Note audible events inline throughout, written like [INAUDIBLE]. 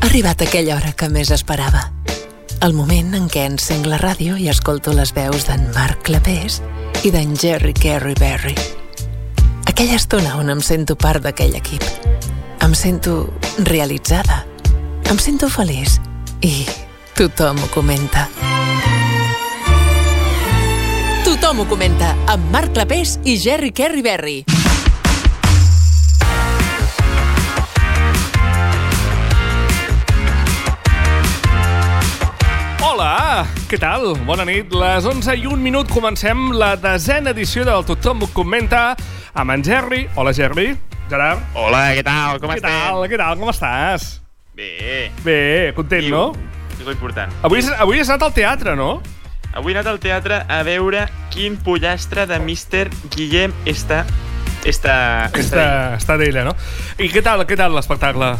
arribat aquella hora que més esperava. El moment en què encenc la ràdio i escolto les veus d'en Marc Clapés i d'en Jerry Carey Berry. Aquella estona on em sento part d'aquell equip. Em sento realitzada. Em sento feliç. I tothom ho comenta. Tothom ho comenta amb Marc Clapés i Jerry Carey Berry. Hola, què tal? Bona nit, les 11 i un minut comencem la desena edició del Tothom ho comenta amb en Gerri. Hola, Gerri. Gerard. Hola, què tal? Com què estem? tal? Què tal? Com estàs? Bé. Bé, content, Viu. no? És l'important. Avui, has- avui has anat al teatre, no? Avui he anat al teatre a veure quin pollastre de Mr. Guillem està... Està... Està, està d'ella, no? I què tal, què tal l'espectacle?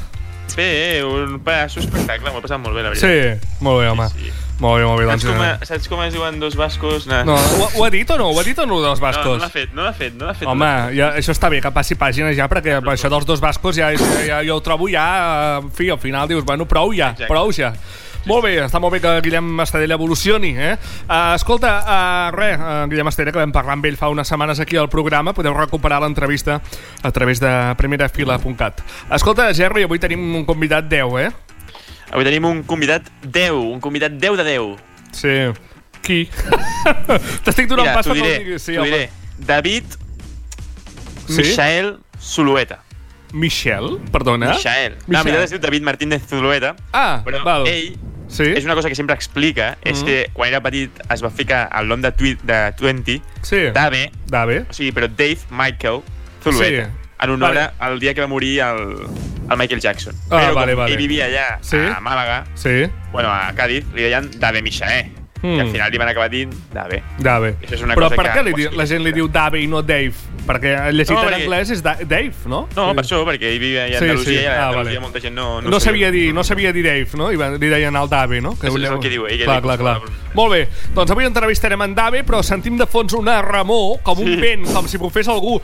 Bé, un pedaço espectacle. M'ho he passat molt bé, la veritat. Sí, molt bé, home. sí. Molt bé, molt bé. Saps Doncs, com, a, eh, saps com es diuen dos bascos? No, no, ho, ho ha dit o no? Ho ha dit o no, dels no, no bascos? l'ha fet, no l'ha fet, no l'ha fet. Home, ja, això està bé, que passi pàgines ja, perquè això dels dos bascos ja, és- ja, ja ho trobo ja... En fi, al final dius, bueno, prou ja, Exacte. prou ja. Molt bé, està molt bé que Guillem Estadella evolucioni, eh? Uh, escolta, uh, res, uh, Guillem Estadella, que vam parlar amb ell fa unes setmanes aquí al programa, podeu recuperar l'entrevista a través de primerafila.cat. Escolta, Gerri, avui tenim un convidat 10, eh? Avui tenim un convidat 10, un convidat 10 de 10. Sí. Qui? [LAUGHS] T'estic donant Mira, pas t'ho perquè ho diré, diguis. t'ho home. diré. David Sí? Michael Zulueta. Michel, perdona. Michael. No, Ah? Michael. en veritat es diu David Martínez Zulueta, Ah, però val. ell Sí? és una cosa que sempre explica, és Mhm. que quan era petit es va ficar el nom de, twi de 20, Sí. Dave, Dave. o sigui, però Dave Michael Zulueta, Sí. en honor Vale. al dia que va morir el, el Michael Jackson. Ah, però vale, com vale. ell vivia allà, Sí. a Màlaga, Sí, bueno, a Cádiz, li deien Dave Michael, Mm. i al final li van acabar dient Dave. Dave. Això és una Però cosa per que què li ho di, la explica. gent li diu Dave i no Dave? Perquè el llegit No, en perquè- anglès és da Dave, no? No, Sí. per això, perquè ell vivia allà a Sí, Andalusia, sí. i a Ah, Andalusia vale. molta gent no... No, sabia dir, no sabia dir Dave, no? I va- li deien el Dave, no? Això és volia- el que diu ell, que Clar, diu- clar, clar. no, no. Molt bé, doncs avui entrevistarem en Dave, però sentim de fons una remor, com un vent, com si bufés algú...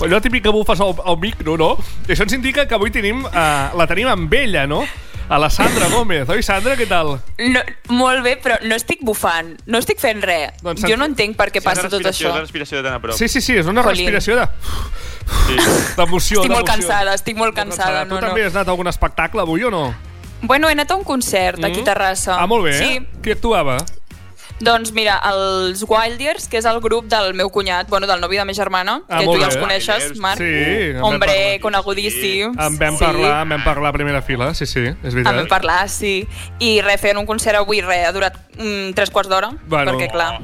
Allò típic que bufes al, al micro, no? I això ens indica que avui tenim, eh, la tenim amb ella, no? A la Sandra Gómez. Oi, Sandra, què tal? No, molt bé, però no estic bufant, no estic fent res. Doncs Doncs sent- jo no entenc per què Sí, passa una tot respiració, això. Una respiració de tan a prop. Sí, sí, sí, és una Jolín. respiració de... sí. d'emoció. Estic molt d'emoció. cansada, estic molt cansada. Tu No, també no. has anat a algun espectacle avui o no? Bueno, he anat a un concert aquí a Terrassa. Ah, molt bé. Sí, Qui actuava? doncs mira, els Wilders, que és el grup del meu cunyat, bueno, del novi de ma germana, Ah, que tu molt ja bé. els coneixes, Wilders, Marc. Sí, en vam Mm. Hombre, parlar. conegudíssim. En vam Sí. parlar, en vam parlar a primera fila, sí, sí, és veritat. En vam parlar, sí. I res, feien un concert avui, res, ha durat mm, tres quarts d'hora, Bueno. perquè clar...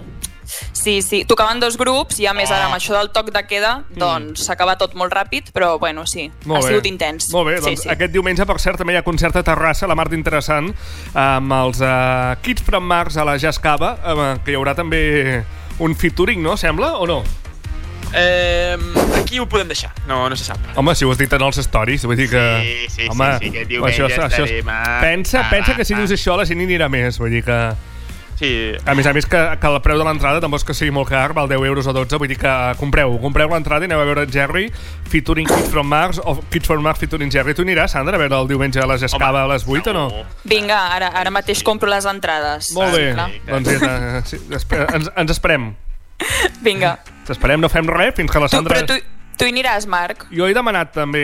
Sí, sí, tocaven dos grups i a més Ah. ara amb això del toc de queda doncs s'acaba tot molt ràpid, però bueno, sí, Mm. Molt ha bé. sigut intens. Molt bé, doncs sí, sí. aquest diumenge, per cert, també hi ha concert a Terrassa, la Marta Interessant, amb els uh, Kids from Mars a la Jazz Cava, eh, que hi haurà també un featuring, no? Sembla, o no? Eh, aquí ho podem deixar. No, no se sap. Home, si ho has dit en els stories, vull dir que... Sí, sí, sí, home, sí, aquest diumenge estarem a- Pensa, a pensa la- que si dius això la gent hi anirà més, vull dir que... Sí. A més a més, que, que el preu de l'entrada tampoc és que sigui molt car, val 10 euros o 12, vull dir que eh, compreu, compreu l'entrada i aneu a veure Jerry featuring Kids from Mars o Kids from Mars featuring Jerry. Tu aniràs, Sandra, a veure el diumenge a les Escava a les 8 o no? Vinga, ara, ara mateix compro les entrades. Ah, Molt bé, clar. doncs ja està. Sí, espe- ens, ens esperem. Vinga. Ens esperem, no fem res fins que la Tu, Sandra... però tu, tu hi aniràs, Marc? Jo he demanat també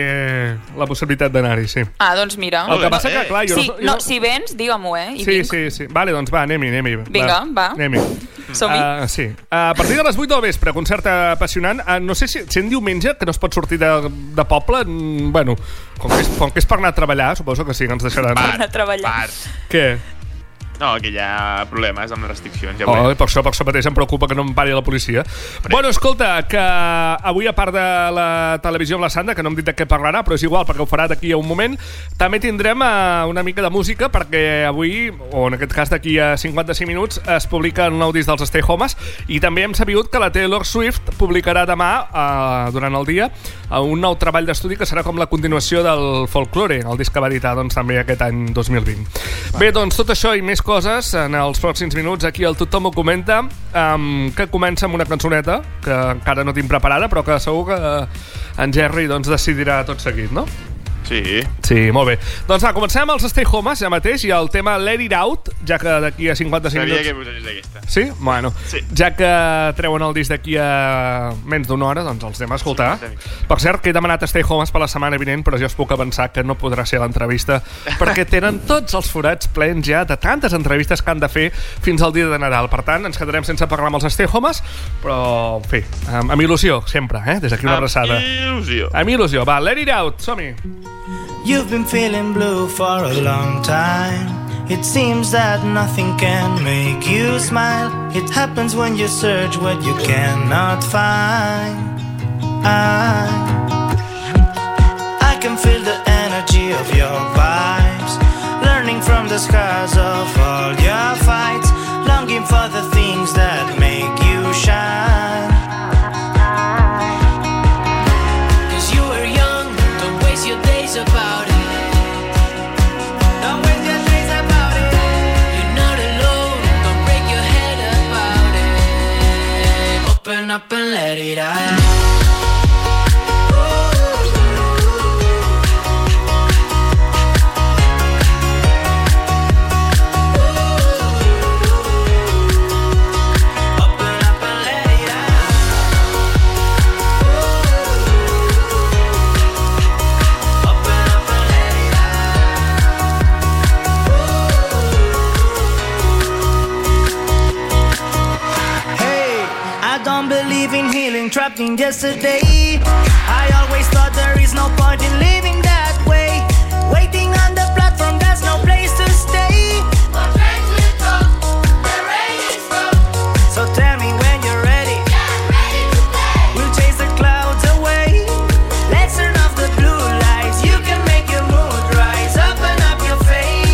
la possibilitat d'anar-hi, sí. Ah, doncs mira. El bé, que passa molt que, bé. clar, jo Sí, jo no, si vens, digue-m'ho, eh? I Sí, vinc. sí, sí. Vale, doncs va, anem-hi, anem-hi. Vinga, va. Anem-hi. Som-hi. Ah, sí. a partir de les 8 del vespre, concert apassionant. Uh, no sé si, si en diumenge, que no es pot sortir de, de poble, mm, bueno, com que, és, com que és per anar a treballar, suposo que sí, que ens deixaran. Va. anar a treballar. Què? No, que hi ha problemes amb les restriccions. Ja Oh, oh. per, això, per això mateix em preocupa que no em pari la policia. Bueno, escolta, que avui, a part de la televisió amb la Sandra, que no hem dit de què parlarà, però és igual, perquè ho farà d'aquí a un moment, també tindrem eh, una mica de música, perquè avui, o en aquest cas d'aquí a 55 minuts, es publica un nou disc dels Stay Homes, i també hem sabut que la Taylor Swift publicarà demà, eh, durant el dia, eh, un nou treball d'estudi que serà com la continuació del Folklore, el disc que va editar doncs, també aquest any 2020. Bé, doncs tot això i més coses en els pròxims minuts aquí al Tothom ho comenta, um, que comença amb una cançoneta que encara no tinc preparada, però que segur que eh, en Gerri doncs, decidirà tot seguit, no? veurem. Sí. Sí, molt bé. Doncs va, comencem amb els Stay Homes ja mateix i el tema Let It Out, ja que d'aquí a 55 Sabia minuts... que posaries aquesta. Sí? Bueno, Sí. ja que treuen el disc d'aquí a menys d'una hora, doncs els anem a escoltar. Sí, Per cert, que he demanat a Stay Homes per la setmana vinent, però ja us puc avançar que no podrà ser l'entrevista, perquè tenen tots els forats plens ja de tantes entrevistes que han de fer fins al dia de Nadal. Per tant, ens quedarem sense parlar amb els Stay Homes, però, en fi, amb, amb il·lusió, sempre, eh? Des d'aquí una abraçada. Amb Il·lusió. Amb il·lusió. Va, Let It Out, som-hi. You've been feeling blue for a long time. It seems that nothing can make you smile. It happens when you search what you cannot find. I, I can feel the energy of your vibes. Learning from the scars of all your fights. Longing for the things that make you shine. Cause you were young, don't waste your days about it. Don't waste your days about it. You're not alone, don't break your head about it. Open up and let it out. Open up and let it out. Open up and let it Hey, I don't believe in healing, trapped in yesterday. I always thought there is no point in living that way. Waiting on the platform, there's no place to stay. So tell me when you're ready. We'll chase the clouds away. Let's turn off the blue lights. You can make your mood rise. Open up your face.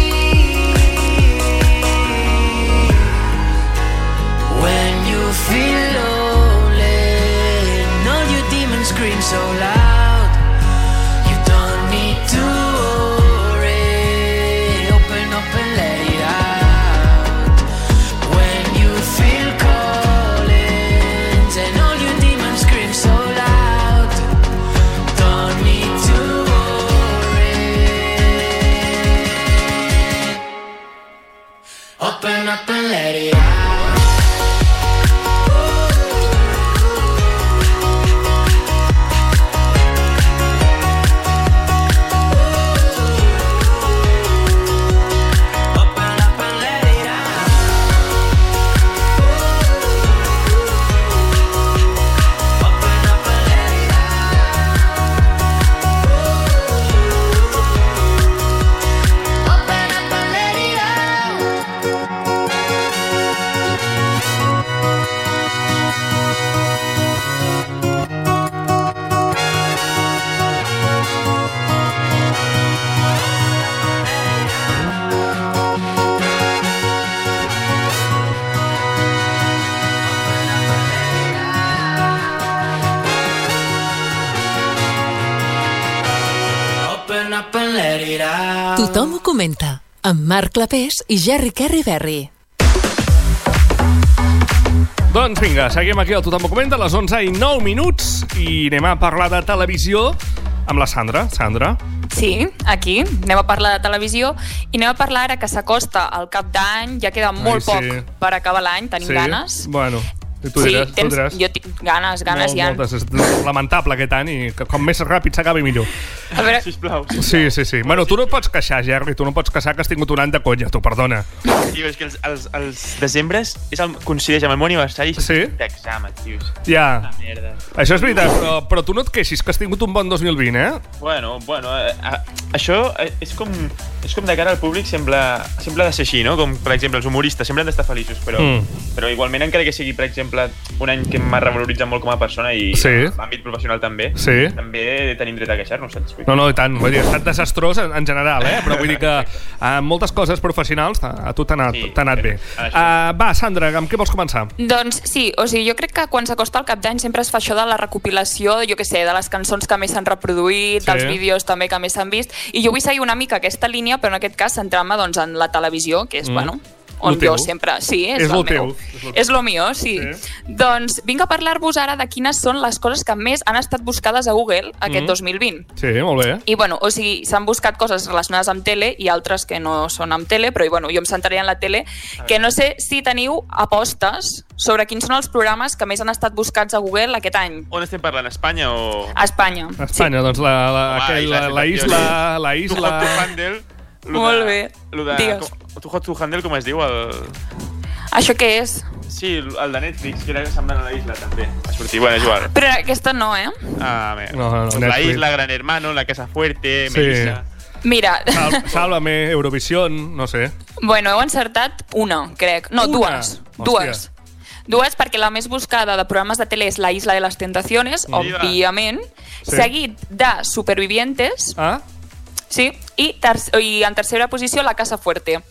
When you feel lonely, know your demon scream so loud. You don't need to worry. Open up and let it out. When you feel callings and all your demons scream so loud, don't need to worry. Open up and let it out. Open up and let it out. Open up and let it Open up and let it out. Open up and let it out. Tothom ho comenta, amb Marc Clapés i Jerry Carry Berry. Doncs vinga, seguim aquí al Tothom ho comenta, a les 11 i 9 minuts, i anem a parlar de televisió amb la Sandra. Sandra, Sí, aquí. Anem a parlar de televisió i anem a parlar ara que s'acosta al cap d'any, ja queda molt sí. poc per acabar l'any, tenim ganes. Bueno, i tu diràs, tu tens, diràs. jo tinc ganes, ganes Molt, ja. moltes. És lamentable aquest any, i que com més ràpid s'acabi millor. A veure, Sisplau. Sí, sí, sí. Bueno, tu no et pots queixar, Jerry, tu no et pots queixar que has tingut un any de conya, tu, perdona. Tio, és que els, els, els decembres és el, coincideix amb el meu aniversari Sí? d'exàmens, tios. Ja, Merda. això és veritat, però, però tu no et queixis que has tingut un bon 2020, eh? Bueno, bueno, eh, a, això eh, és com, és com de cara al públic sembla, sembla de ser així, no? Com, per exemple, els humoristes sempre han d'estar feliços, però, Mm. mm. però igualment, encara que sigui, per exemple, un any que m'ha revaloritzat molt com a persona i Sí. en l'àmbit professional també, Sí. també tenim dret a queixar-nos, saps? No, no, i tant. Vull dir, ha estat desastrós en, en general, eh? Però vull dir que en moltes coses professionals eh, a, a tu t'ha anat, Sí, t'ha anat bé. això. Uh, va, Sandra, amb què vols començar? Doncs sí, o sigui, jo crec que quan s'acosta al cap d'any sempre es fa això de la recopilació, jo que sé, de les cançons que més s'han reproduït, Sí. dels vídeos també que més s'han vist, i jo vull seguir una mica aquesta línia, però en aquest cas centrar-me doncs, en la televisió, que és, mm. bueno, on Lo teu. jo sempre... Sí, és, És el lo teu. meu. És lo teu. És lo mío, sí. Sí. sí. Doncs vinc a parlar-vos ara de quines són les coses que més han estat buscades a Google aquest Mhm. 2020. Sí, molt bé. I, bueno, o sigui, s'han buscat coses relacionades amb tele i altres que no són amb tele, però i, bueno, jo em centraré en la tele, que no sé si teniu apostes sobre quins són els programes que més han estat buscats a Google aquest any. On estem parlant? Espanya o... A Espanya. A Espanya, doncs, la, la, Home, aquell, i la, la la isla... La Tu Hot isla... To Handle... lo de- Molt bé. Lo de, Digues. com, tu Hot To Handle, com es diu? El... Això què és? Sí, el de Netflix, que era semblant a la isla, també. Va sortir, bueno, és igual. Però aquesta no, eh? Ah, bé. No, no, no, la Netflix. isla, Gran Hermano, La Casa Fuerte, Sí. Melissa... Mira, Sal- Sálvame, Eurovisión, no sé. [LAUGHS] bueno, heu encertat una, crec. No, Una? dues. Dues. Hòstia. Dues, perquè la més buscada de programes de tele és La Isla de les Tentaciones, Mira. òbviament, Sí. seguit de Supervivientes, Ah? Sí, i, ter i en tercera posició La Casa Fuerte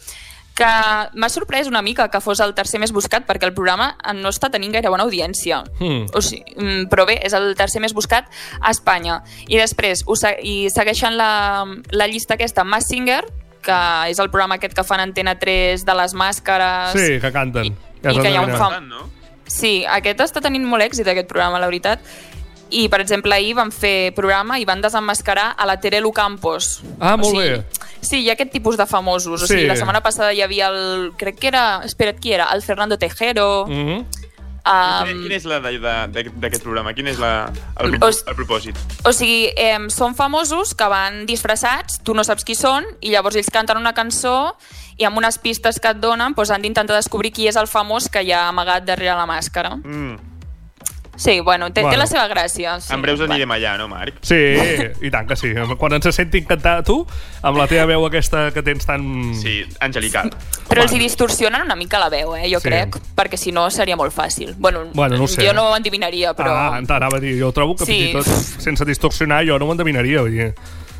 que m'ha sorprès una mica que fos el tercer més buscat perquè el programa no està tenint gaire bona audiència. Hmm. O sigui, mm, però bé, és el tercer més buscat a Espanya. I després ho se i segueixen la, la llista aquesta Mass Singer, que és el programa aquest que fan Antena 3 de les màscares. Sí, que canten. Ah, I- Ja i t'ho que hi ha un endevinaràs. fam- Tant, no? Sí, aquest està tenint molt èxit, aquest programa, la veritat. I, per exemple, ahir van fer programa i van desenmascarar a la Terelu Campos. Ah, molt o sigui, bé. Sí, hi ha aquest tipus de famosos. O Sí. sigui, la setmana passada hi havia el... Crec que era... Espera't, qui era? El Fernando Tejero. Mm. Mhm. Quina, quina Um, és la de- de- de- d'aquest programa? Quin és la, el, el, Os- el propòsit? o sigui, eh, són famosos que van disfressats, tu no saps qui són, i llavors ells canten una cançó i amb unes pistes que et donen doncs, han d'intentar descobrir qui és el famós que hi ha amagat darrere la màscara. Mm. Sí, bueno, té, Bueno. bueno. té la seva gràcia. Sí, en breus va. anirem allà, no, Marc? Sí, i tant que sí. Quan ens sentin cantar tu, amb la teva veu aquesta que tens tan... Sí, angelical. Però els hi distorsionen una mica la veu, eh, jo Sí. sí. crec, perquè si no seria molt fàcil. Bueno, Bueno, no ho sé. jo no ho endevinaria, però... Ah, t'anava a dir, jo trobo que Sí. fins i tot sense distorsionar jo no ho endevinaria, vull dir.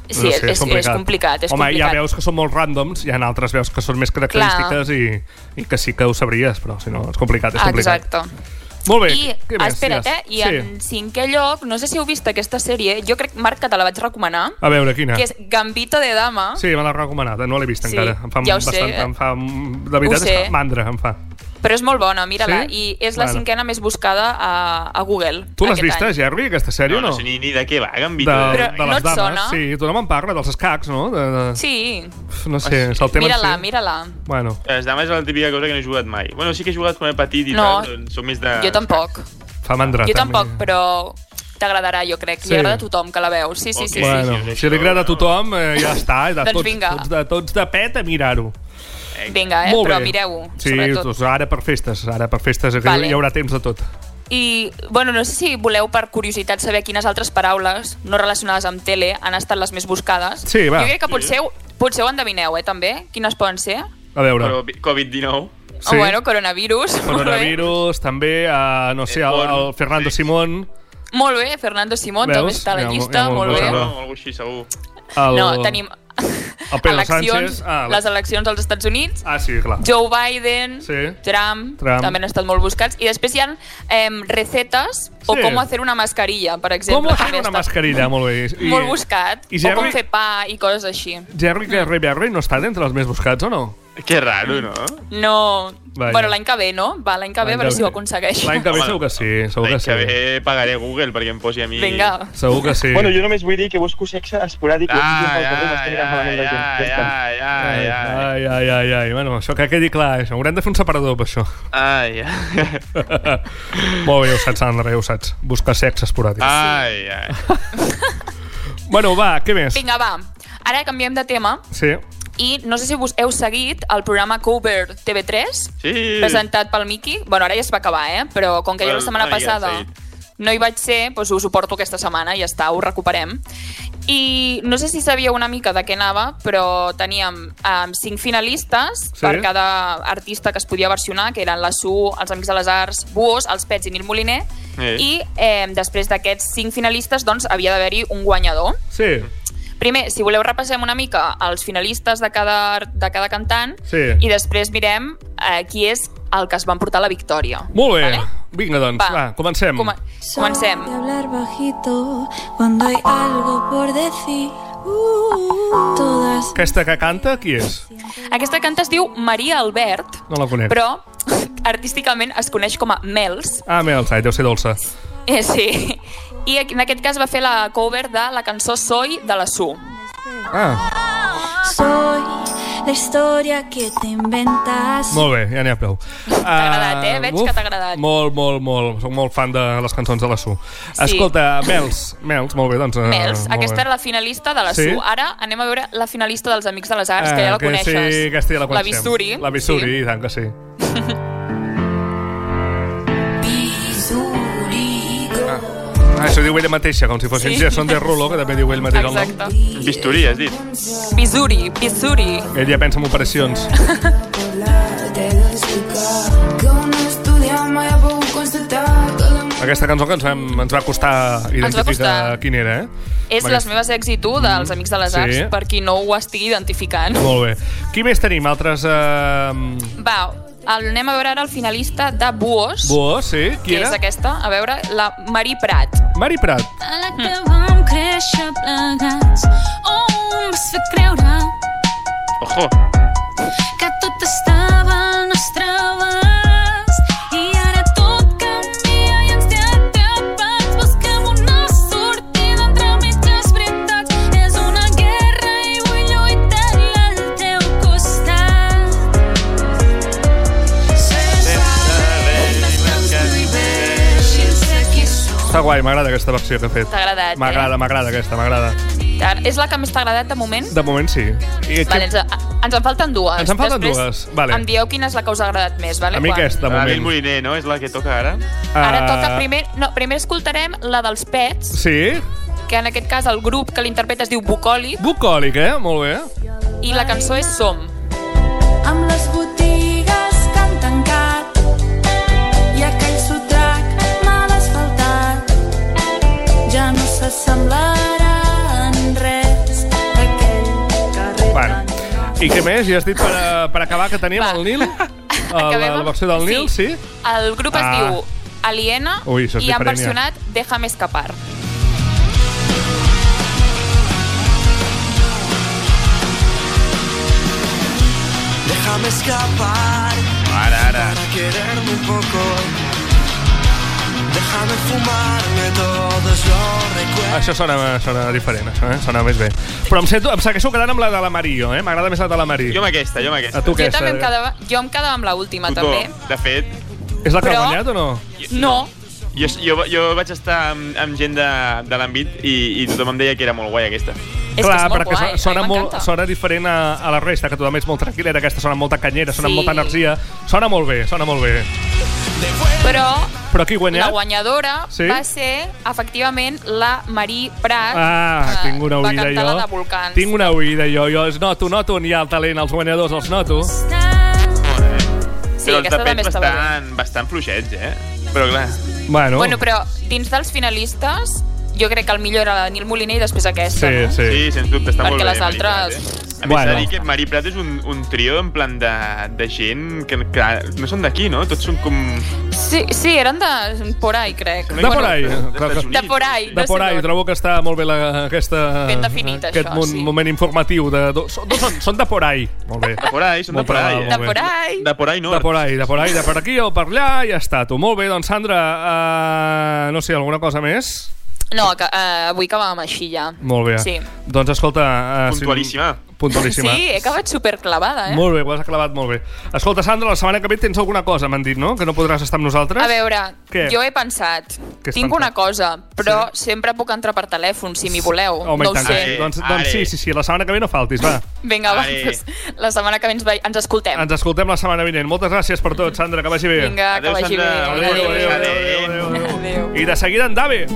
Sí, és- és- és complicat, és Home, complicat. hi ha veus que són molt ràndoms, hi ha altres veus que són més característiques i, i que sí que ho sabries, però si no, és complicat, és complicat. Exacte. Molt bé. I, què més? espera't, eh, i Digues. en cinquè lloc, no sé si heu vist aquesta sèrie, jo crec, Marc, que te la vaig recomanar, Sí. A veure, quina? que és Gambito de Dama. Ah. Sí, me l'ha recomanat, eh? no l'he vist Ah. Sí, encara. Em fa ja ho sé. bastant, em fa... De Ho veritat, sé. és que mandra, em fa. Però és molt bona, mira-la. Sí? I és la Bueno. cinquena més buscada a, a Google. Tu l'has aquest vista, any. Jerry, aquesta sèrie, No, o no? no sé ni, ni de què va, em Gambito. de, Però de no les et dames. sona? Sí, tothom en parla, dels escacs, no? De, de... Sí, Uf, No sé, és el tema... en mira-la, si. mira-la. Bueno, Les dames és la típica cosa que no he jugat mai. Bueno, sí que he jugat quan era petit i No, tal, doncs soc més de... Jo tampoc. fa mandra. Jo Ah. també. tampoc, però t'agradarà, jo crec. Sí. Li agrada a tothom que la veu. Sí, sí, sí. sí. Bueno, sí, sí. si li agrada a tothom, eh, ja està. De Doncs tots, vinga. Tots de, tots de pet a mirar-ho. Vinga, eh? Molt però bé. mireu-ho, sí, sobretot. Doncs ara per festes, ara per festes, que Vale. hi haurà temps de tot. I, bueno, no sé si voleu, per curiositat, saber quines altres paraules no relacionades amb tele han estat les més buscades. Sí, va. Jo crec que potser, potser ho endevineu, eh, també, quines poden ser. A veure. Però vi- Covid-19... Sí. Oh, bueno, coronavirus. [LAUGHS] molt bé. Coronavirus, també, eh, no sé, Eh, el, el porno, Fernando sí. Simón, Molt bé, Fernando Simón Veus? també està a Ja la ho- llista, ja ho- molt ho bé. sabem. Bueno, o alguna cosa així, segur. el... No, tenim el Pedro eleccions, Sánchez. Ah, la- les eleccions als Estats Units, Ah, sí, clar. Joe Biden, Sí. Trump, Trump. també han estat molt buscats. I després hi ha eh, recetes o Sí. com hacer una mascarilla, per exemple. Com fer també una està mascarilla, molt bé. I, Molt buscat. I o com Jerry, fer pa i coses així. Jerry Mm. que Reberry no està entre els més buscats, o no? Que raro, no? No... Vaja. Bueno, l'any que ve, no? Va, l'any que ve, a veure si ho aconsegueix. L'any que ve Home, segur que sí, segur que L'any sí. que ve pagaré Google perquè em posi a mi... [LAUGHS] Vinga. Segur que sí. Bueno, jo només vull dir que busco sexe esporàdic i Ah, estic ja, al carrer ja, m'estic agafant amb la gent. ja, Ja està. ja, Ai, ja, ja. ai, ai, ai, ai. Bueno, això que quedi clar, això. Haurem de fer un separador per això. [LAUGHS] Ai, [LAUGHS] ai. Molt bé, ho saps, Sandra, ja ho saps. Buscar sexe esporàdic. Ah. Ai, ai. Bueno, va, què més? Vinga, va. Ara canviem de tema Sí. i no sé si vos heu seguit el programa Cover TV3 Sí. presentat pel Miki. Bueno, ara ja es va acabar, eh? Però com que jo Bueno, la setmana una mica, passada ah, sí. no hi vaig ser, doncs us ho porto aquesta setmana i ja està, ho recuperem. I no sé si sabíeu una mica de què anava, però teníem um, cinc finalistes Sí. sí. per cada artista que es podia versionar, que eren la Su, els Amics de les Arts, Buos, els Pets i Nil Moliner, Sí. i eh, després d'aquests cinc finalistes doncs, havia d'haver-hi un guanyador. Sí, Primer, si voleu, repassem una mica els finalistes de cada, de cada cantant Sí. i després mirem eh, qui és el que es va emportar la victòria. molt bé. Vale? Vinga, doncs, va, Va. comencem. Coma comencem. Sabe hablar bajito cuando hay algo por decir. Todas gràcies. Aquesta que canta, qui és? Aquesta canta es diu Maria Albert, No la conec. però [LAUGHS] artísticament es coneix com a Mels. Ah, mira, el deu ser dolça. Eh, sí. I aquí- en aquest cas va fer la cover de la cançó Soy de la Su. Ah, Soy la historia que te inventas. molt bé, ja n'hi ha prou. T'ha agradat, eh? Veig que t'ha agradat. Molt, molt, molt. Soc molt fan de les cançons de la Su. Sí. Escolta, Mels, Mels, molt bé, doncs... eh, Mels, molt aquesta bé. era la finalista de la Sí? Ah, Su. Ara anem a veure la finalista dels Amics de les Arts, que ja la Eh, que coneixes. Sí, aquesta ja la La coneixem. Bisturi. La Bisturi, sí. i tant que sí. Ah, això ho diu ella mateixa, com si fossin Sí. sí. Gerson de Rulo, que també diu ell mateix el nom. Exacte. Bisturí, has dit. Bisuri, Bisuri. Ell ja pensa en operacions. Aquesta cançó que ens, vam, ens va costar identificar costar. quina era, eh? És M'agrada. les meves èxitu dels Amics de les Mm. Sí. Arts, per qui no ho estigui identificant. Molt bé. Qui més tenim? Altres... Eh... Va, el, anem a veure ara el finalista de Buos, Bo, sí? Qui que és era? aquesta. A veure, la Mari Prat. Mari Prat. Alla към креша плагат. Ом, се креура. Ojo. Като те става на стравас. И ара тот към тия ям стята пат. Пускам una sortida entre mitges veritats. És una guerra i vull lluitar al teu costat. Està guai, m'agrada aquesta versió que ha fet. T'ha agradat, M'agrada, m'agrada aquesta, m'agrada. eh? T'ha- És la que més t'ha agradat de moment? De moment sí. I Vale, ens, ens en falten dues. Ens en falten Després dues, vale. Em dieu quina és la que us ha agradat més, vale? a mi Quan- aquesta, de La Lil moment. Moliner, no? És la que toca ara? Ara Ah, toca primer... No, primer escoltarem la dels Pets, Sí? que en aquest cas el grup que l'interpreta es diu Bucòlic Bucòlic, eh? Molt bé. i la cançó és Som. Amb les botigues que han tancat i aquell sotrac mal asfaltat ja no s'assemblarà en res aquell carrer Bueno. I què més? Ja has dit per, a- per acabar que teníem Va. el [LAUGHS] Nil? El, Acabem Ah, la amb- versió del Nil, sí? El grup es Ah. diu Aliena Ui, això és i han diferent, ja. versionat Déjame escapar. Déjame escapar Ara, ara. para quererme un poco. Déjame fumarme todos los recuerdos. Això sona, sona diferent, això, eh? Sona més bé. Però em, sento, em segueixo quedant amb la de la Mario, eh? M'agrada més la de la Jo Mario. amb aquesta, jo amb A aquesta. tu eh? Jo, aquesta. també em quedava, jo em quedava amb l'última, Cotó. Ah, també. De fet, És la que Però- ha guanyat o no? No, jo, jo, jo vaig estar amb, amb gent de, de l'àmbit i, i tothom em deia que era molt guai aquesta. és Clar, que és molt perquè guai. so- sona, a mi molt, m'encanta. sona diferent a, a la resta, que tothom és molt tranquil·lera, aquesta sona amb molta canyera, sona amb Sí. molta energia, sona molt bé, sona molt bé. Però Però qui ha la guanyat? guanyadora Sí? va ser, efectivament, la Marí Prat. Ah, que tinc una va oïda cantar jo. la de Volcans. Tinc una oïda jo, jo els noto, noto on hi ha el talent, els guanyadors els noto. Sí, però els aquesta també tapets estava bé. bastant, bastant fluixets, eh? Però clar, Bueno, Bueno, però dins dels finalistes, jo crec que el millor era la Nil Moliner i després aquesta, sí, no? sí. sí, sí sens dubte, està Perquè molt bé. les Mari Prat, altres- eh? A més, s'ha de Bueno. dir que Mari Prat és un, un trio en plan de, de gent que, que no són d'aquí, no? Tots són com... Sí, sí, eren de por ahí, crec. De por ahí. Estats Units. De por ahí. De no sé por ahí, d'on. trobo que està molt bé la, aquesta, Ben definit, aquest això, mon- sí. moment informatiu. De, do, són, dos són, són de por ahí. Molt bé. De por ahí, són de Molt por ahí. brava, eh? De por ahí. De por ahí nord. De por ahí, de por ahí, de per aquí o per allà, ja està, tu. Molt bé, doncs, Sandra, uh, no sé, alguna cosa més? No, que, eh, avui acabàvem així ja. Molt bé. Sí. Doncs escolta... eh, si- Puntualíssima. Puntualíssima. Sí, he acabat superclavada, eh? Molt bé, ho has clavat molt bé. Escolta, Sandra, la setmana que ve tens alguna cosa, m'han dit, no? Que no podràs estar amb nosaltres? A veure, Què? jo he pensat, Què has tinc pensat? una cosa, però sempre puc entrar per telèfon, si m'hi voleu. Home, i no ho tant, sé. que sí. Doncs, Are. doncs sí, sí, sí, la setmana que ve no faltis, va. Vinga, va, Ai. doncs, la setmana que ve ens, vai, ens escoltem. Ens escoltem la setmana vinent. Moltes gràcies per tot, Sandra, que vagi bé. Vinga, Adéu, que vagi bé. Sandra. Adéu, adéu, adéu, adéu, adéu, adéu. I de seguida en Dave.